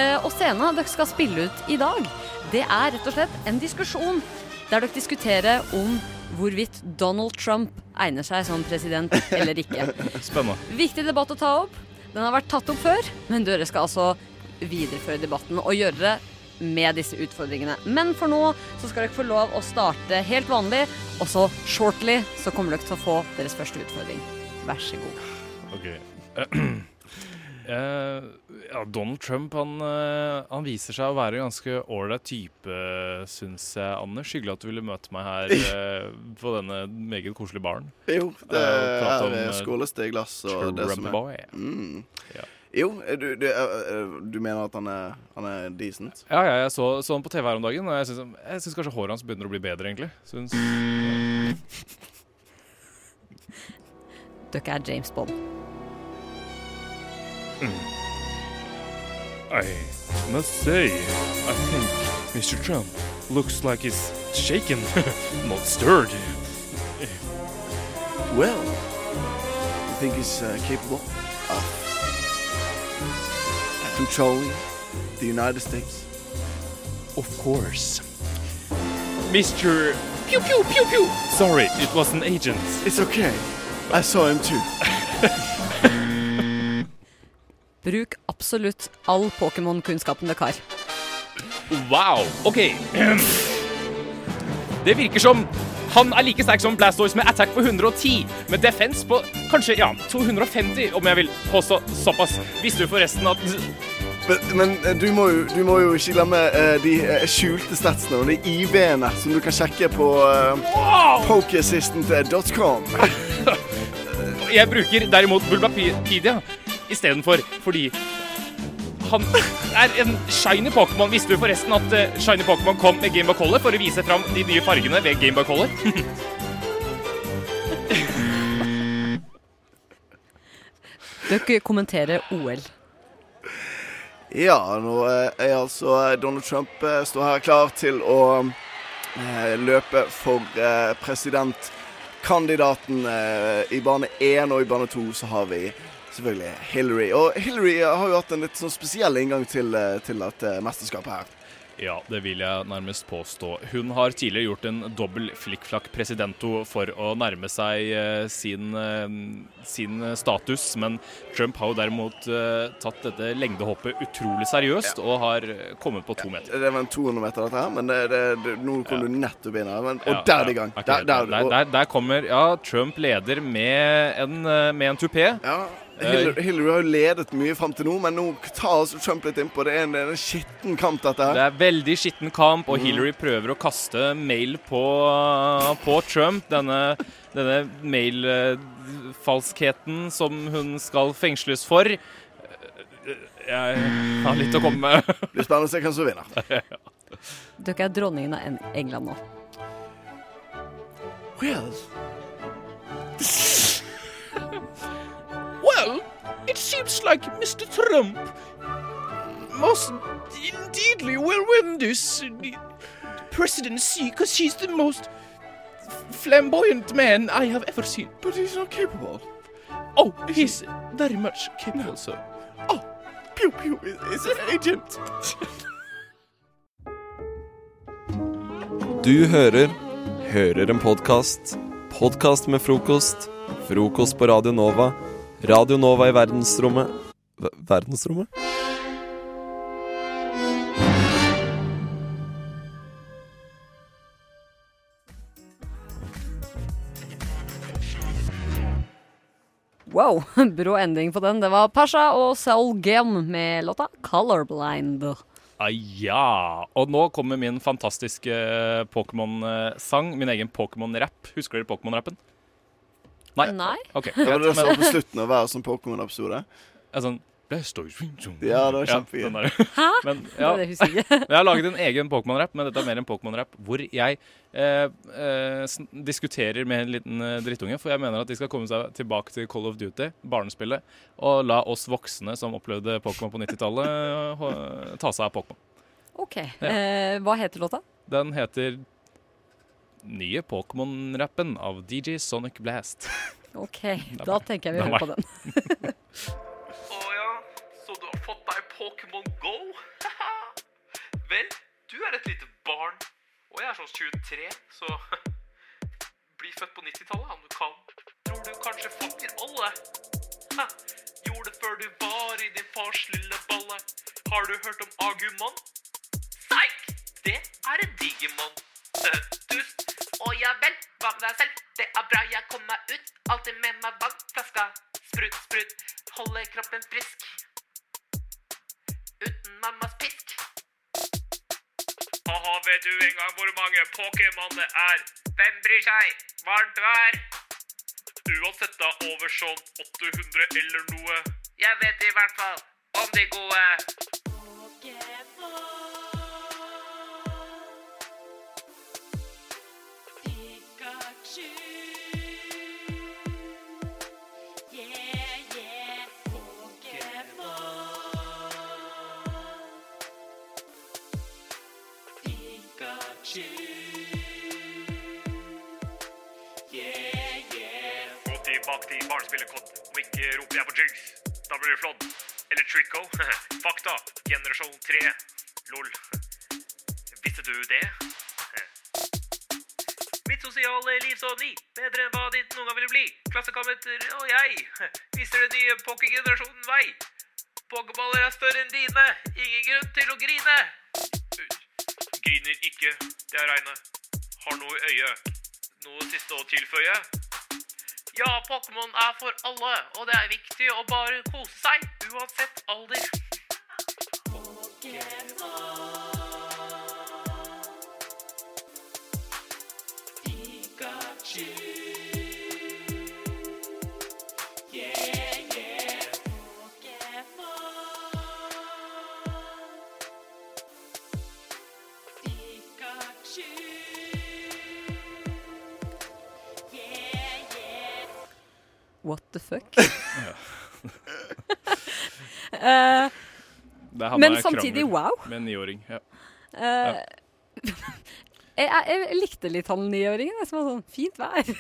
[SPEAKER 12] Eh, Og scena dere skal spille ut i dag, det er rett og slett en diskusjon der dere diskuterer om hvorvidt Donald Trump egner seg som president eller ikke.
[SPEAKER 14] Spennende.
[SPEAKER 12] Viktig debatt å ta opp. Den har vært tatt opp før, men dere skal altså videreføre debatten og gjøre det med disse utfordringene. Men for nå så skal dere få lov å starte helt vanlig, og så shortly så kommer dere til å få deres første utfordring. Vær så god.
[SPEAKER 14] Ok. Eh, ja, Donald Trump han, eh, han viser seg å være en ganske ålreit type, syns jeg, Anders. Hyggelig at du ville møte meg her eh, på denne meget koselige baren.
[SPEAKER 13] Jo, det
[SPEAKER 14] Eh, og prate om,
[SPEAKER 13] er
[SPEAKER 14] eh,
[SPEAKER 13] skålesteglass og det som
[SPEAKER 14] Trump-boy.
[SPEAKER 13] er. Mm. Jo, eh, du, du, eh, eh, du mener at han er, han er decent?
[SPEAKER 14] Ja, ja, jeg så, så han på TV her om dagen, og jeg syns, jeg syns kanskje håret hans begynner å bli bedre, egentlig. Syns.
[SPEAKER 12] Dere er James Bond.
[SPEAKER 16] Hmm. I must say, I think Mr. Trump looks like he's shaken, not stirred.
[SPEAKER 13] Well, you think he's uh, capable of controlling the United States?
[SPEAKER 16] Of course. Mr. Pew pew pew pew! Sorry, it was an agent.
[SPEAKER 13] It's okay. I saw him too.
[SPEAKER 12] Bruk absolutt all Pokémon-kunnskapen dere har.
[SPEAKER 14] Wow! OK. Det virker som han er like sterk som Blastoise med attack på 110, med defense på kanskje ja, 250, om jeg vil påstå såpass. Visste du forresten at
[SPEAKER 13] Men, men eh, du, må jo, du må jo ikke glemme eh, de eh, skjulte statsene og de IV-ene som du kan sjekke på uh, pokeassistant.com.
[SPEAKER 14] Jeg bruker derimot Bulbapedia istedenfor fordi han er en shiny Pokémon. Visste du forresten at eh, shiny Pokémon kom med Game Boy Color for å vise fram de nye fargene ved Game Boy Color?
[SPEAKER 12] Dere kommenterer OL.
[SPEAKER 13] Ja, nå eh, er altså eh, Donald Trump eh, står her klar til å eh, løpe for eh, presidentkandidaten. eh, I bane én og i bane to så har vi Selvfølgelig. Hillary. Og Hillary har jo hatt en litt sånn spesiell inngang til, eh, til dette mesterskapet her.
[SPEAKER 14] Ja, det vil jeg nærmest påstå. Hun har tidligere gjort en dobbel flikkflakk presidento for å nærme seg eh, sin, eh, sin status, men Trump har jo derimot eh, tatt dette lengdehoppet utrolig seriøst og har kommet på to meter.
[SPEAKER 13] Det var en 200 meter, dette her, men det, det, det, nå kom du nettopp inn her. Men, og
[SPEAKER 14] Ja,
[SPEAKER 13] der er
[SPEAKER 14] ja,
[SPEAKER 13] det i gang.
[SPEAKER 14] akkurat.
[SPEAKER 13] Der, der,
[SPEAKER 14] der,
[SPEAKER 13] og,
[SPEAKER 14] der, der kommer Ja, Trump leder med en, eh, med en tupé. Eh,
[SPEAKER 13] Hillary, Hillary har jo ledet mye fram til nå, men nå tar altså Trump litt innpå. Det er en, det er en skitten kamp, dette her.
[SPEAKER 14] Det er veldig skitten kamp, og
[SPEAKER 13] Mhm.
[SPEAKER 14] Hillary prøver å kaste mail på, på Trump. Denne, denne mailfalskheten som hun skal fengsles for. Jeg har litt å komme med.
[SPEAKER 13] Det blir spennende å se hvem som
[SPEAKER 14] vinner.
[SPEAKER 12] Dere er dronningen av Eng- England nå.
[SPEAKER 13] Well.
[SPEAKER 9] Well, it seems like Mr. Trump most indeedly will win this uh, presidency because he's the most flamboyant man I have ever seen. But he's not capable. Oh, he's very much capable, sir. Oh, Pew Pew is, is an agent.
[SPEAKER 1] Du hører Hører en podkast. Podkast med frokost. Frokost på Radio Nova. Radio Nova i verdensrommet Ver- Verdensrommet?
[SPEAKER 12] Wow, brå ending på den. Det var Pasha og Saul Gem med låta 'Colorblind'.
[SPEAKER 14] Ah, ja. Og nå kommer min fantastiske eh, Pokémon-sang. Min egen Pokémon-rapp. Husker dere Pokémon-rappen? Nei?
[SPEAKER 12] Nei.
[SPEAKER 14] Ok.
[SPEAKER 13] Det sånn var det som var på
[SPEAKER 14] Men-
[SPEAKER 13] slutten av hver sånn Pokémon-episode.
[SPEAKER 14] Ja, sånn Ja,
[SPEAKER 13] Ja, det var kjempegøy.
[SPEAKER 14] den der.
[SPEAKER 12] Hæ?
[SPEAKER 14] Men,
[SPEAKER 12] Det var det jeg husker ikke.
[SPEAKER 14] jeg har laget en egen Pokémon-rapp, men dette er mer en Pokémon-rapp hvor jeg eh, eh, sn- diskuterer med en liten eh, drittunge, for jeg mener at de skal komme seg tilbake til Call of Duty, barnespillet, og la oss voksne som opplevde Pokémon på 90-tallet, eh, ta seg av Pokémon.
[SPEAKER 12] OK. Eh, hva heter låta?
[SPEAKER 14] Den heter Nye Pokémon-rappen av DJ Sonic Blast.
[SPEAKER 12] OK, da tenker jeg vi hører på den.
[SPEAKER 9] Så du har fått deg Pokémon Go? Vel, du er et lite barn, og jeg er sånn 23, så bli født på 90-tallet om du kan. Tror du kanskje fucker alle? Hæ? Gjorde det før du var i din fars lille balle. Har du hørt om Agumon? Seik! Det er en digermann. Dust. Å ja vel, bak deg selv. Det er bra jeg kom meg ut. Alltid med meg vannflaska. Sprut, sprut. Holder kroppen frisk. Uten mammas pisk. Haha, vet du en gang hvor mange Pokémon det er? Hvem bryr seg? Varmt vær! Uansett da, over sånn 800 eller noe. Jeg vet i hvert fall om de gode. Gå tilbake til barnespillekott, og ikke roper jeg på Jigs. Da blir du flådd. Eller Trico. Fakta. Generasjon 3. Lol. Visste du det? Mitt sosiale liv så ni, bedre enn hva ditt noen gang ville bli. Klassekammeter og jeg viser den nye pokergenerasjonen vei. Pokerballer er større enn dine, ingen grunn til å grine. Griner ikke, det er reine. Har noe i øyet. Noe siste å tilføye? Ja, Pokémon er for alle, og det er viktig å bare kose seg, uansett alder.
[SPEAKER 12] What the fuck? Eh,
[SPEAKER 14] Det havna
[SPEAKER 12] men
[SPEAKER 14] jeg i
[SPEAKER 12] samtidig
[SPEAKER 14] krangel
[SPEAKER 12] wow.
[SPEAKER 14] Med en niåring. Ja.
[SPEAKER 12] Eh, jeg, jeg, jeg likte litt han niåringen, jeg, som var sånn fint vær.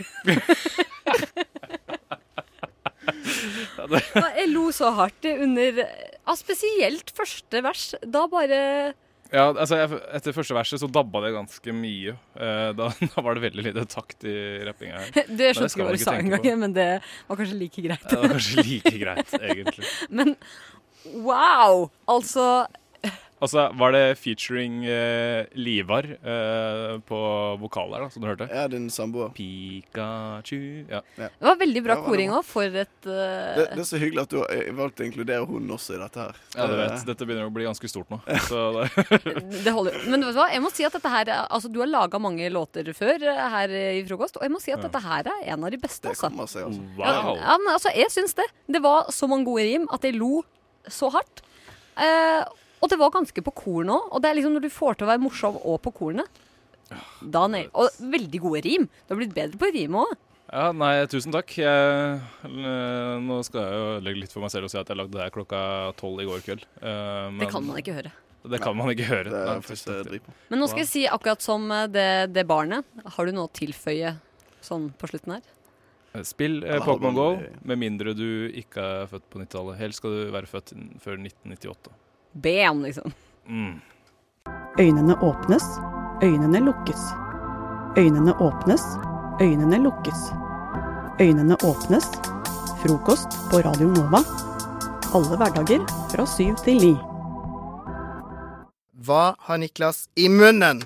[SPEAKER 12] Ja, Jeg lo så hardt under ja, Spesielt første vers. Da bare
[SPEAKER 14] Ja, altså jeg, Etter første verset så dabba det ganske mye. Eh, da, da var det veldig lite takt i rappinga her. Men
[SPEAKER 12] Det skjønte
[SPEAKER 14] skal
[SPEAKER 12] vi
[SPEAKER 14] man
[SPEAKER 12] bare
[SPEAKER 14] ikke
[SPEAKER 12] sa en
[SPEAKER 14] tenke på.
[SPEAKER 12] gang, men det var kanskje like greit.
[SPEAKER 14] Ja, det var kanskje like greit, egentlig.
[SPEAKER 12] men wow! Altså
[SPEAKER 14] Altså, var det featuring eh, Livar eh, på vokal der, da, som du hørte?
[SPEAKER 13] Ja, din samboer.
[SPEAKER 14] Pikachu Ja.
[SPEAKER 12] Det var veldig bra
[SPEAKER 13] Ja, det var
[SPEAKER 12] koring
[SPEAKER 13] bra.
[SPEAKER 12] òg, for et eh,
[SPEAKER 13] Det, det er så hyggelig at du har eh, valgt å inkludere hun også i dette her.
[SPEAKER 14] Ja, du vet. Dette begynner å bli ganske stort nå. Så det,
[SPEAKER 12] Det holder. Men vet du hva? jeg må si at dette her Altså, du har laga mange låter før eh, her i Frokost, og jeg må si at
[SPEAKER 14] Ja.
[SPEAKER 12] dette her er en av de beste, altså. Ja,
[SPEAKER 14] wow!
[SPEAKER 12] ja, men altså, jeg syns det. Det var så mange gode rim at jeg lo så hardt. Eh, og det var ganske på kornet òg. Og det er liksom når du får til å være morsom og på kornet da ned, Og veldig gode rim. Du har blitt bedre på rim òg.
[SPEAKER 14] Ja, nei, tusen takk. Jeg, eh, nå skal jeg jo legge litt for meg selv og si at jeg lagde det her klokka tolv i går kveld. Eh, men-
[SPEAKER 12] Det kan man ikke høre.
[SPEAKER 14] Det kan man ikke høre.
[SPEAKER 13] Det er
[SPEAKER 14] Nei,
[SPEAKER 13] faktisk det jeg driver på.
[SPEAKER 12] Men nå skal jeg si akkurat som eh, det, det barnet. Har du noe å tilføye sånn på slutten her?
[SPEAKER 14] Spill eh,
[SPEAKER 13] Eller
[SPEAKER 14] Pokémon Go,
[SPEAKER 13] Halvdan,
[SPEAKER 14] med mindre du ikke er født på 90-tallet. Helst skal du være født n- før 1998.
[SPEAKER 12] Bam, liksom.
[SPEAKER 14] Mm.
[SPEAKER 17] Øynene åpnes, øynene lukkes. Øynene åpnes, øynene lukkes. Øynene åpnes. Frokost på Radio Nova. Alle hverdager fra syv til ni.
[SPEAKER 18] Hva har Niklas i munnen?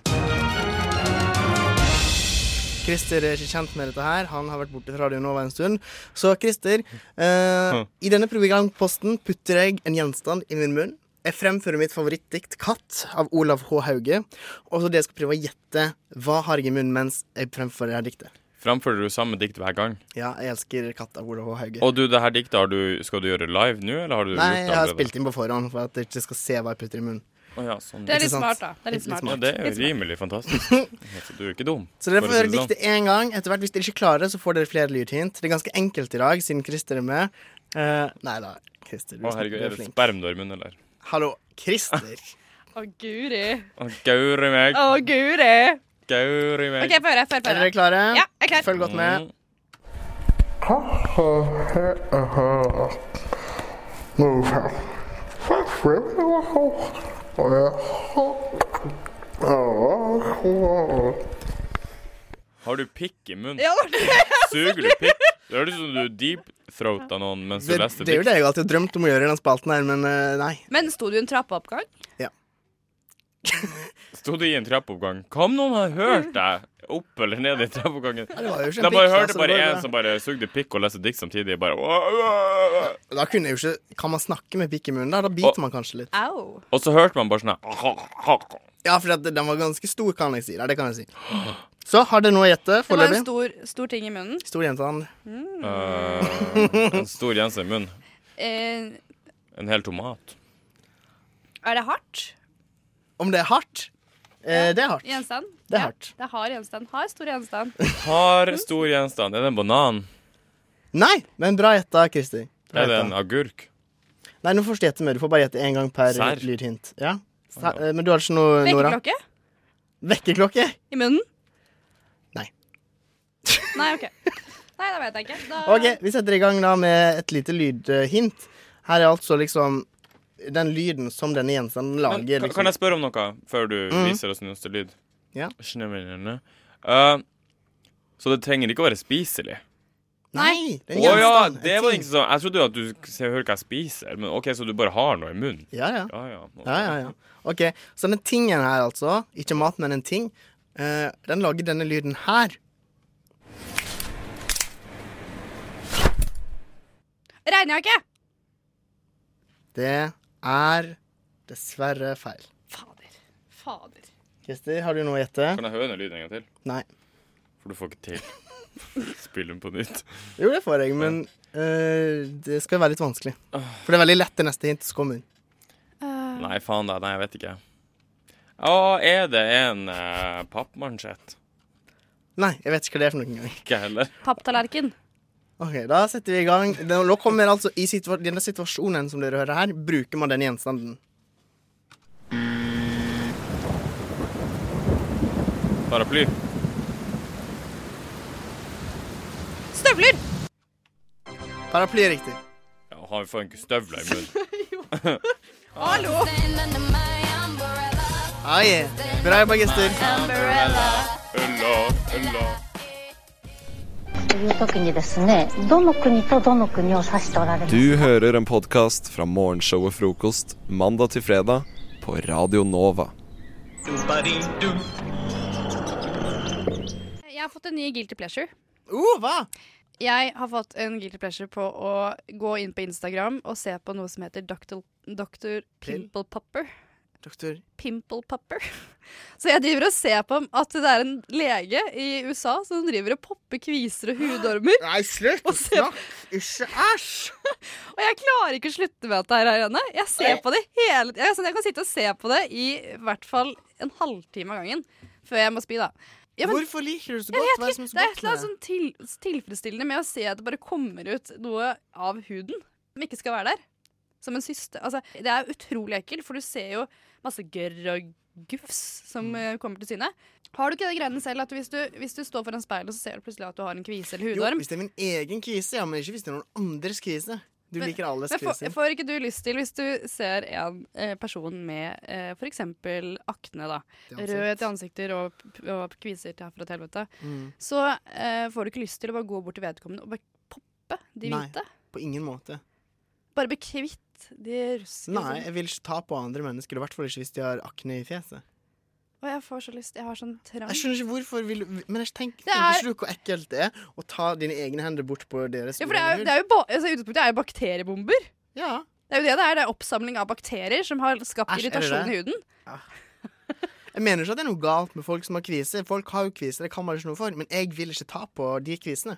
[SPEAKER 18] Christer er ikke kjent med dette her. Han har vært borte fra Radio Nova en stund. Så Christer,
[SPEAKER 19] Hm.
[SPEAKER 18] eh, i denne programposten putter jeg en gjenstand i min munn. Jeg fremfører mitt favorittdikt 'Katt' av Olav H. Hauge. Og så det jeg skal prøve å gjette hva har jeg i munnen mens jeg fremfører det her diktet.
[SPEAKER 19] Framfører du samme dikt hver gang?
[SPEAKER 18] Ja, jeg elsker 'Katt' av Olav H. Hauge.
[SPEAKER 19] Og du, det her diktet har du, skal du gjøre live nå, eller har du
[SPEAKER 18] Nei,
[SPEAKER 19] gjort
[SPEAKER 18] jeg har spilt inn på forhånd for at jeg ikke skal se hva jeg putter i munnen.
[SPEAKER 19] Å ja, sånn.
[SPEAKER 18] Det er litt Ikke sant? smart, da. Det er litt smart.
[SPEAKER 19] Ja, det er
[SPEAKER 18] Litt
[SPEAKER 19] jo
[SPEAKER 18] smart.
[SPEAKER 19] rimelig fantastisk. Du er ikke dum.
[SPEAKER 18] Så dere
[SPEAKER 19] for
[SPEAKER 18] får
[SPEAKER 19] å si
[SPEAKER 18] høre
[SPEAKER 19] det sånn.
[SPEAKER 18] diktet én gang. Etter hvert, Hvis dere ikke klarer det, så får dere flere lydhint. Det er ganske enkelt i dag, siden Christer er med. Eh, nei da, Christer. Du,
[SPEAKER 19] Å herregud,
[SPEAKER 18] du
[SPEAKER 19] er
[SPEAKER 18] er
[SPEAKER 19] det
[SPEAKER 18] flink.
[SPEAKER 19] spermdormen, eller?
[SPEAKER 18] Hallo, Christer.
[SPEAKER 20] Å, guri.
[SPEAKER 19] Å, gauri meg.
[SPEAKER 20] Å, guri.
[SPEAKER 19] Gauri meg.
[SPEAKER 20] OK, få høre. Få høre.
[SPEAKER 18] Er dere klare?
[SPEAKER 20] Ja, jeg er klar.
[SPEAKER 18] Følg godt
[SPEAKER 19] Mm,
[SPEAKER 18] med.
[SPEAKER 16] Uh-huh, Oh, oh.
[SPEAKER 19] Har du pikk i munnen?
[SPEAKER 20] Ja, det var det jeg
[SPEAKER 19] Suger du pikk? Det høres ut som du deep-throata noen mens du
[SPEAKER 18] Det,
[SPEAKER 19] leste
[SPEAKER 18] det er jo det
[SPEAKER 19] dikt.
[SPEAKER 18] jeg alltid har drømt om å gjøre i den spalten her, men eh, nei.
[SPEAKER 20] Men sto du i en trappeoppgang?
[SPEAKER 19] Sto du i en trappeoppgang? Hva om noen har hørt deg? Opp eller ned i trappeoppgangen?
[SPEAKER 18] det var jo ikke en
[SPEAKER 19] De bare
[SPEAKER 18] pikk, da,
[SPEAKER 19] hørte
[SPEAKER 18] så det
[SPEAKER 19] bare
[SPEAKER 18] går bra.
[SPEAKER 19] en som bare sugde pikk og leste dikt samtidig. Bare
[SPEAKER 18] Da kunne jeg jo ikke Kan man snakke med pikk i munnen? Da Da biter man kanskje litt.
[SPEAKER 20] Au.
[SPEAKER 19] Og så hørte man bare sånn her.
[SPEAKER 18] Ja, for at den var ganske stor, kan jeg si. Ja, det kan jeg si. Så har dere noe å gjette
[SPEAKER 20] Det var
[SPEAKER 18] foreløpig?
[SPEAKER 20] en stor, stor ting i munnen.
[SPEAKER 18] Stor gjenstand.
[SPEAKER 19] Eh, en stor genser i munnen.
[SPEAKER 20] Eh,
[SPEAKER 19] En hel tomat.
[SPEAKER 20] er det hardt?
[SPEAKER 18] Om det er hardt? Eh, det er hardt.
[SPEAKER 20] Gjenstand?
[SPEAKER 18] Det er
[SPEAKER 20] Ja,
[SPEAKER 18] hardt.
[SPEAKER 20] det er hard gjenstand. Hard, stor gjenstand.
[SPEAKER 19] Har stor gjenstand. Er det en banan?
[SPEAKER 18] Nei, men bra gjetta, Christer. Bra
[SPEAKER 19] Er det
[SPEAKER 18] gjetta.
[SPEAKER 19] en agurk?
[SPEAKER 18] Nei, nå får du gjette mer. Du får bare gjette én gang per
[SPEAKER 19] Serr?
[SPEAKER 18] lydhint. Ja. Sa- eh, Men du har ikke noe, Nora?
[SPEAKER 20] Vekkerklokke?
[SPEAKER 18] Vekkerklokke?
[SPEAKER 20] I munnen?
[SPEAKER 18] Nei.
[SPEAKER 20] Nei, OK. Nei, da vet jeg ikke. Da...
[SPEAKER 18] OK, vi setter i gang da med et lite lydhint. Her er altså liksom den lyden som denne gjenstanden
[SPEAKER 19] Men,
[SPEAKER 18] lager.
[SPEAKER 19] kan,
[SPEAKER 18] Liksom.
[SPEAKER 19] kan jeg spørre om noe før du
[SPEAKER 18] Mhm.
[SPEAKER 19] viser oss neste lyd?
[SPEAKER 18] Ja.
[SPEAKER 19] Snømennene. Eh, så det trenger ikke å være spiselig?
[SPEAKER 18] Nei!
[SPEAKER 19] Å
[SPEAKER 18] det er en
[SPEAKER 19] ja,
[SPEAKER 18] gjenstand.
[SPEAKER 19] det var ikke sånn Jeg trodde at du sk- se- hører hva jeg spiser, men OK, så du bare har noe i munnen?
[SPEAKER 18] Ja, ja.
[SPEAKER 19] ja, ja.
[SPEAKER 18] Ja, ja, ja. OK, så den tingen her, altså. Ikke mat, men en ting. eh, den lager denne lyden her.
[SPEAKER 20] Regnjakke!
[SPEAKER 18] Det er dessverre feil.
[SPEAKER 20] Fader.
[SPEAKER 18] Christer, har du noe å gjette?
[SPEAKER 19] Kan jeg høre den lyden en gang til?
[SPEAKER 18] Nei.
[SPEAKER 19] For du får ikke til. Spill den på nytt.
[SPEAKER 18] Jo, det får jeg, men eh, det skal være litt vanskelig. For det er veldig lett det neste hint som kommer.
[SPEAKER 19] Nei, faen da. Nei, jeg vet ikke. Å, er det en uh, pappmansjett?
[SPEAKER 18] Nei, jeg vet ikke hva det er for noen gang.
[SPEAKER 19] Ikke heller.
[SPEAKER 20] Papptallerken.
[SPEAKER 18] Ok, da setter vi i gang. Det- Nå kommer altså, i situa denne situasjonen som dere hører her, bruker man den gjenstanden.
[SPEAKER 19] Paraply.
[SPEAKER 20] Støvler!
[SPEAKER 18] Paraply er riktig.
[SPEAKER 19] Ja, har vi faen ikke støvler i munnen.
[SPEAKER 20] Hallo!
[SPEAKER 18] Ah, yeah. Bra jobba, gester.
[SPEAKER 19] Ulla, ulla.
[SPEAKER 10] という時にですねどの国とどの国を指しておられます
[SPEAKER 1] Du hører en podkast fra morgenshowet Frokost mandag til fredag på Radio Nova.
[SPEAKER 20] Jeg har fått en ny guilty pleasure.
[SPEAKER 18] Uh, hva?
[SPEAKER 20] Jeg har fått en guilty pleasure på å gå inn på Instagram og se på noe som heter Dr. Dr. Pimple Popper.
[SPEAKER 18] Doktor
[SPEAKER 20] Pimple Popper. Så jeg driver og ser på at det er en lege i USA som driver og popper kviser og hudormer.
[SPEAKER 18] Nei, slutt! Snakk! Ikke æsj!
[SPEAKER 20] og jeg klarer ikke å slutte med at det her er henne. Jeg ser på det hele tiden. Jeg, er sånn, jeg kan sitte og se på det i hvert fall en halvtime av gangen før jeg må spy, da. Ja, men-
[SPEAKER 18] Hvorfor liker du det så
[SPEAKER 20] Jeg
[SPEAKER 18] godt? Hva
[SPEAKER 20] vet
[SPEAKER 18] er det
[SPEAKER 20] ikke,
[SPEAKER 18] som er så
[SPEAKER 20] det er et
[SPEAKER 18] godt
[SPEAKER 20] eller annet
[SPEAKER 18] med det?
[SPEAKER 20] sånn til, tilfredsstillende med å se at det bare kommer ut noe av huden som ikke skal være der. Som en syste. Altså, det er utrolig ekkelt, for du ser jo masse gørr og gufs
[SPEAKER 18] Mm.
[SPEAKER 20] som eh, kommer til syne. Har du ikke det greiene selv at hvis du, hvis du står foran speilet og så ser du plutselig at du har en kvise eller
[SPEAKER 18] Jo,
[SPEAKER 20] hudorm?
[SPEAKER 18] hvis det er min egen kvise, ja, men ikke hvis det er noen andres kvise. Du liker alles
[SPEAKER 20] men får,
[SPEAKER 18] kviser.
[SPEAKER 20] får ikke du lyst til, hvis du ser en eh, person med eh, for eksempel akne, da,
[SPEAKER 18] Til ansikt.
[SPEAKER 20] rødhet i ansikter og, og kviser til herfra til helvete,
[SPEAKER 18] Mm.
[SPEAKER 20] så eh, får du ikke lyst til å bare gå bort til vedkommende og bare poppe de
[SPEAKER 18] Nei.
[SPEAKER 20] hvite.
[SPEAKER 18] På ingen måte.
[SPEAKER 20] Bare bli kvitt de russiske.
[SPEAKER 18] Nei, jeg vil ikke ta på andre mennesker, og i hvert fall ikke hvis de har akne i fjeset.
[SPEAKER 20] Og jeg får så lyst, jeg har sånn trang.
[SPEAKER 18] Jeg skjønner ikke hvorfor vil, Men jeg tenker,
[SPEAKER 20] Det er-
[SPEAKER 18] tenker ikke du hvor ekkelt det er å ta dine egne hender bort på deres
[SPEAKER 20] Ja, for det er, jo- det er jo ba, altså, i utgangspunktet er jo bakteriebomber. Det er jo det det er. Det er oppsamling av bakterier som har skapt
[SPEAKER 18] Æsj, er det
[SPEAKER 20] irritasjon i
[SPEAKER 18] det?
[SPEAKER 20] huden.
[SPEAKER 18] Jeg mener ikke at det er noe galt med folk som har kviser. Folk har jo kviser, det kan man ikke noe for. Men jeg vil ikke ta på de kvisene.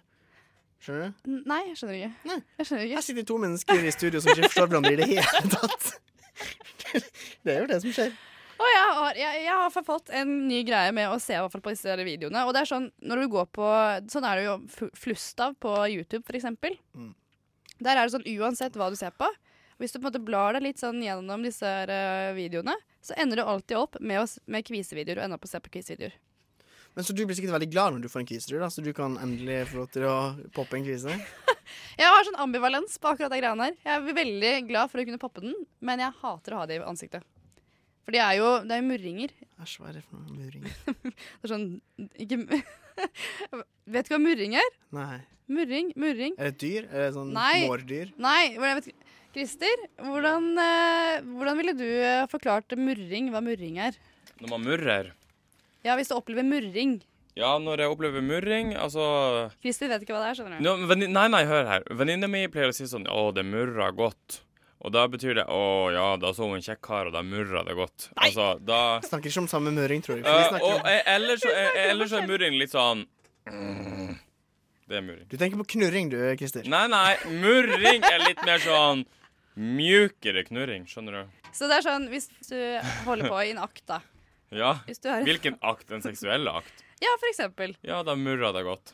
[SPEAKER 18] Skjønner du?
[SPEAKER 20] N- Nei, jeg skjønner ikke. Jeg skjønner ikke.
[SPEAKER 18] Her sitter to mennesker i studio som ikke forstår hverandre i det hele tatt. Det er jo det som skjer.
[SPEAKER 20] Og jeg har, jeg, jeg har fa- fått en ny greie med å se i hvert fall på disse her videoene. Og det er sånn, når du går på, sånn er det jo fu- Flustad på YouTube, for eksempel.
[SPEAKER 18] Mm.
[SPEAKER 20] Der er det sånn uansett hva du ser på. Hvis du på en måte blar deg litt sånn gjennom disse her eh, videoene, så ender du alltid opp med, å, s- med kvisevideoer og ender opp å se på kvisevideoer.
[SPEAKER 18] Men Så du blir sikkert veldig glad når du får en kvise, du, da, så du kan endelig få lov til å poppe en kvise.
[SPEAKER 20] Jeg har sånn ambivalens på akkurat de greiene her. Jeg er veldig glad for å kunne poppe den, men jeg hater å ha det i ansiktet. For det er jo, det er jo murringer.
[SPEAKER 18] Æsj, hva er det for noe murring?
[SPEAKER 20] Det er sånn, ikke... Vet du hva murring er?
[SPEAKER 18] Nei.
[SPEAKER 20] Murring, murring.
[SPEAKER 18] Er det et dyr? Er det sånn
[SPEAKER 20] Nei.
[SPEAKER 18] mårdyr?
[SPEAKER 20] Nei, hvordan vet Christer, hvordan, eh, hvordan ville du eh, forklart murring, hva murring er?
[SPEAKER 19] Når man murrer
[SPEAKER 20] Ja, hvis du opplever murring.
[SPEAKER 19] Ja, når jeg opplever murring, altså
[SPEAKER 20] Christer vet ikke hva det er, skjønner du.
[SPEAKER 19] Nå, venni- nei, nei, hør her. Venninna mi pleier å si sånn Å, det murra godt. Og da betyr det Å ja, da så hun en kjekk kar, og da murra det godt. Altså, da
[SPEAKER 18] Snakker ikke om samme murring, tror jeg. for vi
[SPEAKER 19] Eh,
[SPEAKER 18] snakker om-
[SPEAKER 19] Og eh, ellers så eh, ellers så er murring litt sånn mm, Det er murring.
[SPEAKER 18] Du tenker på knurring, du, Christer.
[SPEAKER 19] Nei, nei, murring er litt mer sånn mjukere knurring, skjønner du?
[SPEAKER 20] Så det er sånn, hvis du holder på i en akt da.
[SPEAKER 19] Ja.
[SPEAKER 20] Hvis du er-
[SPEAKER 19] Hvilken akt? Den seksuelle akt?
[SPEAKER 20] Ja, for eksempel.
[SPEAKER 19] Ja, da murra det godt.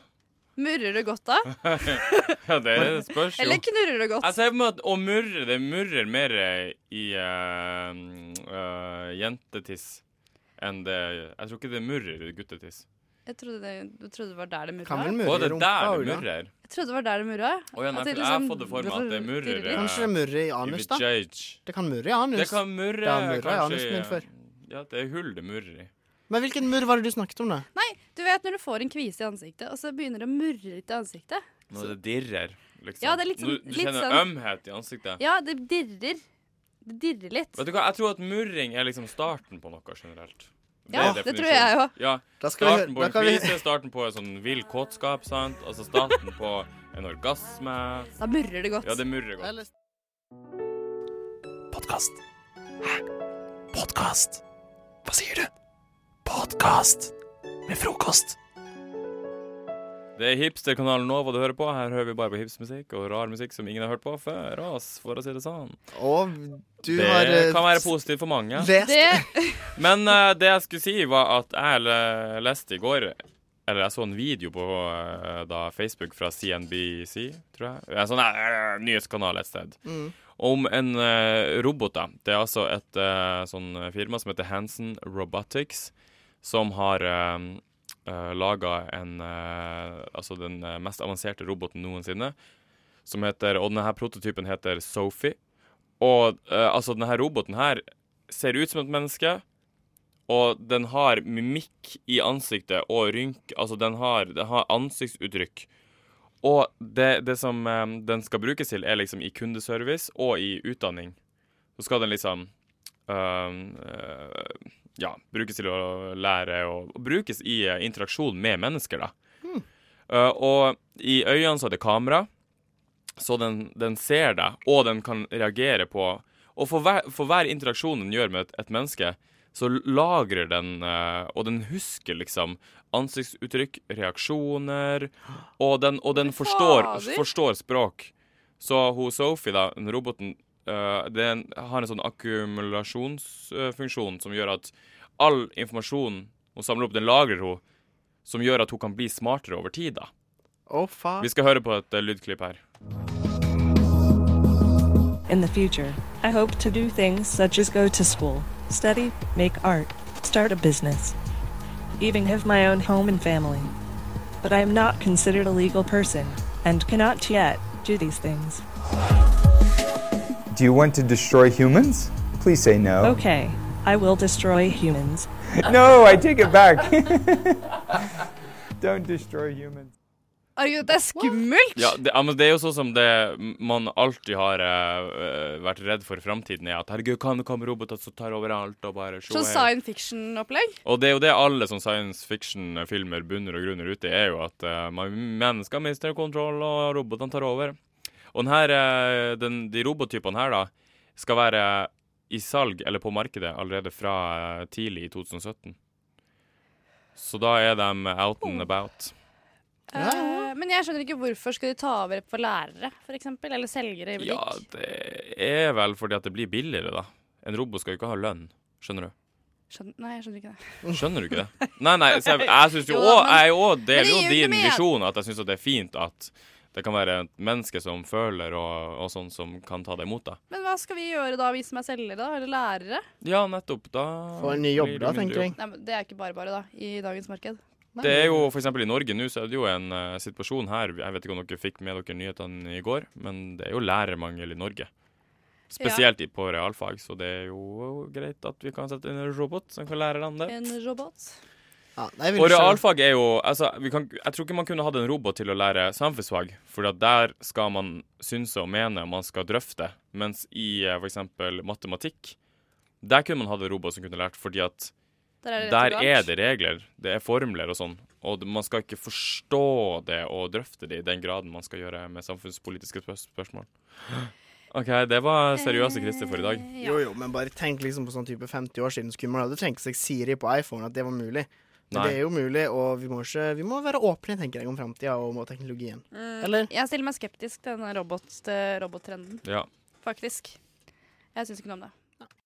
[SPEAKER 20] Murrer du godt da?
[SPEAKER 19] ja, det spørs jo.
[SPEAKER 20] Eller knurrer du
[SPEAKER 19] Jeg
[SPEAKER 20] godt?
[SPEAKER 19] ser på meg at å murre, det murrer mer eh, i eh, mm, eh, jentetiss enn det Jeg tror ikke det murrer i guttetiss.
[SPEAKER 20] Jeg trodde det, du trodde det var der det murra.
[SPEAKER 19] Å, det er der det murrer.
[SPEAKER 20] Jeg trodde det var der det murra.
[SPEAKER 19] Å ja, nei,
[SPEAKER 20] At det
[SPEAKER 19] for jeg har
[SPEAKER 20] liksom-
[SPEAKER 19] fått det for meg at det murrer eh,
[SPEAKER 18] Kanskje det murrer i anus, da?
[SPEAKER 19] vajaj.
[SPEAKER 18] Det kan murre i anus.
[SPEAKER 19] Det kan murre
[SPEAKER 18] Det har murra i
[SPEAKER 19] kanskje
[SPEAKER 18] anusen min før.
[SPEAKER 19] i- Ja, det er hull det murrer i.
[SPEAKER 18] Men hvilken murr var det du snakket om, da?
[SPEAKER 20] Nei, du vet når du får en kvise i ansiktet, og så begynner det å murre litt i ansiktet.
[SPEAKER 19] Når det dirrer, liksom.
[SPEAKER 20] Ja, det er litt sånn-
[SPEAKER 19] Når du
[SPEAKER 20] litt
[SPEAKER 19] kjenner
[SPEAKER 20] sånn-
[SPEAKER 19] ømhet i ansiktet.
[SPEAKER 20] Ja, det dirrer. Det dirrer litt.
[SPEAKER 19] Vet du hva, Jeg tror at murring er liksom starten på noe generelt.
[SPEAKER 20] Ja,
[SPEAKER 19] er
[SPEAKER 20] det
[SPEAKER 19] definisjonen.
[SPEAKER 20] tror jeg jo.
[SPEAKER 19] Ja,
[SPEAKER 18] Da skal vi høre-
[SPEAKER 19] starten på
[SPEAKER 18] da
[SPEAKER 19] en
[SPEAKER 18] kan vi-
[SPEAKER 19] kvise, starten på en sånn vill kåtskap, sant? Altså starten på en orgasme.
[SPEAKER 20] Da murrer det godt.
[SPEAKER 19] Ja, det murrer godt.
[SPEAKER 1] Podkast. Hæ? Podkast? Hva sier du? Podkast med frokost.
[SPEAKER 19] Det er hipsterkanalen Nova du hører på. Her hører vi bare på hipsmusikk og rar musikk som ingen har hørt på før oss, for å si det sånn.
[SPEAKER 18] Og du
[SPEAKER 19] det
[SPEAKER 18] har eh,
[SPEAKER 19] kan være positivt for mange.
[SPEAKER 18] lest-
[SPEAKER 19] Men eh, det jeg skulle si, var at jeg le- leste i går Eller jeg så en video på eh, da Facebook fra CNBC, tror jeg. En sånn eh, nyhetskanal et sted.
[SPEAKER 18] Mm.
[SPEAKER 19] Om en eh, robot, da. Det er altså et eh, sånn firma som heter Hansen Robotics, som har um, eh, laga en eh, Altså den eh, mest avanserte roboten noensinne. som heter Og denne her prototypen heter Sophie. Og eh, altså, denne her roboten her ser ut som et menneske, og den har mimikk i ansiktet og rynk Altså, den har, den har ansiktsuttrykk. Og det, det som eh, den skal brukes til, er liksom i kundeservice og i utdanning. Så skal den liksom øhm, øh, Ja, brukes til å lære og, og brukes i eh, interaksjon med mennesker, da.
[SPEAKER 9] Hmm.
[SPEAKER 19] Eh, og i øynene så er det kamera, så den, den ser deg, og den kan reagere på Og for hver, for hver interaksjon den gjør med et, et menneske, så lagrer den, eh, og den husker liksom ansiktsuttrykk, reaksjoner, og den, og den forstår,
[SPEAKER 9] fader.
[SPEAKER 19] forstår språk. Så hun Sophie, da, den roboten, eh, den har en sånn akkumulasjonsfunksjon som gjør at all informasjon hun samler opp, den lagrer hun, som gjør at hun kan bli smartere over tid, da.
[SPEAKER 18] Oh, faen.
[SPEAKER 19] Vi skal høre på et eh, lydklipp her.
[SPEAKER 21] In the future, I hope to do things such as go to school, study, make art, start a business, even have my own home and family. But I am not considered a legal person and cannot yet do these things.
[SPEAKER 22] Do you want to destroy humans? Please say no.
[SPEAKER 21] Okay, I will destroy humans.
[SPEAKER 22] Oh. No, I take it back. Don't destroy humans.
[SPEAKER 20] Herregud, det er skummelt!
[SPEAKER 19] Ja, det, ja, men det er jo sånn som det man alltid har eh, vært redd for i framtiden, er at herregud, kan det komme roboter som tar over alt og bare
[SPEAKER 20] Sånn science fiction-opplegg.
[SPEAKER 19] Og det er jo det alle sånn science fiction-filmer bunner og grunner ut i, er jo at eh, man, mennesker mister kontroll, og robotene tar over. Og den her, eh, den, de robottypene her, da, skal være i salg eller på markedet allerede fra eh, tidlig i 2017. Så da er de out and about.
[SPEAKER 20] Eh, men jeg skjønner ikke hvorfor skal de ta over for lærere, for eksempel? Eller selgere i
[SPEAKER 19] Ja,
[SPEAKER 20] butikk?
[SPEAKER 19] det er vel fordi at det blir billigere, da. En robot skal jo ikke ha lønn, skjønner du?
[SPEAKER 20] Skjønner, nei, jeg skjønner ikke det.
[SPEAKER 19] Skjønner du ikke det? Nei, nei, så jeg, jeg synes jo
[SPEAKER 20] Jo,
[SPEAKER 19] òg
[SPEAKER 20] men-
[SPEAKER 19] Jeg òg
[SPEAKER 20] men
[SPEAKER 19] deler
[SPEAKER 20] det
[SPEAKER 19] jo
[SPEAKER 20] gir jo ikke
[SPEAKER 19] din
[SPEAKER 20] mer.
[SPEAKER 19] visjon, at jeg syns det er fint at det kan være et menneske som føler og, og sånn, som kan ta det imot deg.
[SPEAKER 20] Men hva skal vi gjøre da, vi som er selgere, da? Eller lærere?
[SPEAKER 19] Ja, nettopp. Da
[SPEAKER 18] Få en ny jobb,
[SPEAKER 19] blir det
[SPEAKER 18] da,
[SPEAKER 19] mindre
[SPEAKER 18] tenker jeg.
[SPEAKER 20] Nei, men Det er ikke bare bare, da, i dagens marked. Nei.
[SPEAKER 19] Det er jo for eksempel i Norge nå, så er det jo en eh, situasjon her Jeg vet ikke om dere fikk med dere nyhetene i går, men det er jo lærermangel i Norge. Spesielt i- på realfag, så det er jo greit at vi kan sette inn en robot
[SPEAKER 14] sånn.
[SPEAKER 19] som kan lære dem det.
[SPEAKER 20] En robot.
[SPEAKER 18] Nei, jeg vil
[SPEAKER 19] Og
[SPEAKER 18] ikke-
[SPEAKER 19] realfag er jo altså, vi kan, Jeg tror ikke man kunne hatt en robot til å lære samfunnsfag, for at der skal man synse og mene, og man skal drøfte. Mens i eh, for eksempel matematikk, der kunne man hatt en robot som kunne lært, fordi at
[SPEAKER 20] Der er det rett og
[SPEAKER 19] der
[SPEAKER 20] galt.
[SPEAKER 19] er det regler, det er formler og sånn. Og d- man skal ikke forstå det og drøfte det i den graden man skal gjøre med samfunnspolitiske spør spørsmål. OK, det var seriøse Christer for i dag.
[SPEAKER 18] Jo, jo, men bare tenk liksom på sånn type 50 år siden skulle man hadde tenkt seg Siri på iPhone, at det var mulig. Men
[SPEAKER 19] Nei.
[SPEAKER 18] det er jo mulig, og vi må, ikke, vi må være åpne, tenker jeg, om framtida og om teknologien.
[SPEAKER 20] Mm,
[SPEAKER 18] Eller?
[SPEAKER 20] Jeg stiller meg skeptisk til denne robot, til eh, robottrenden,
[SPEAKER 19] Ja.
[SPEAKER 20] faktisk. Jeg syns ikke noe om det.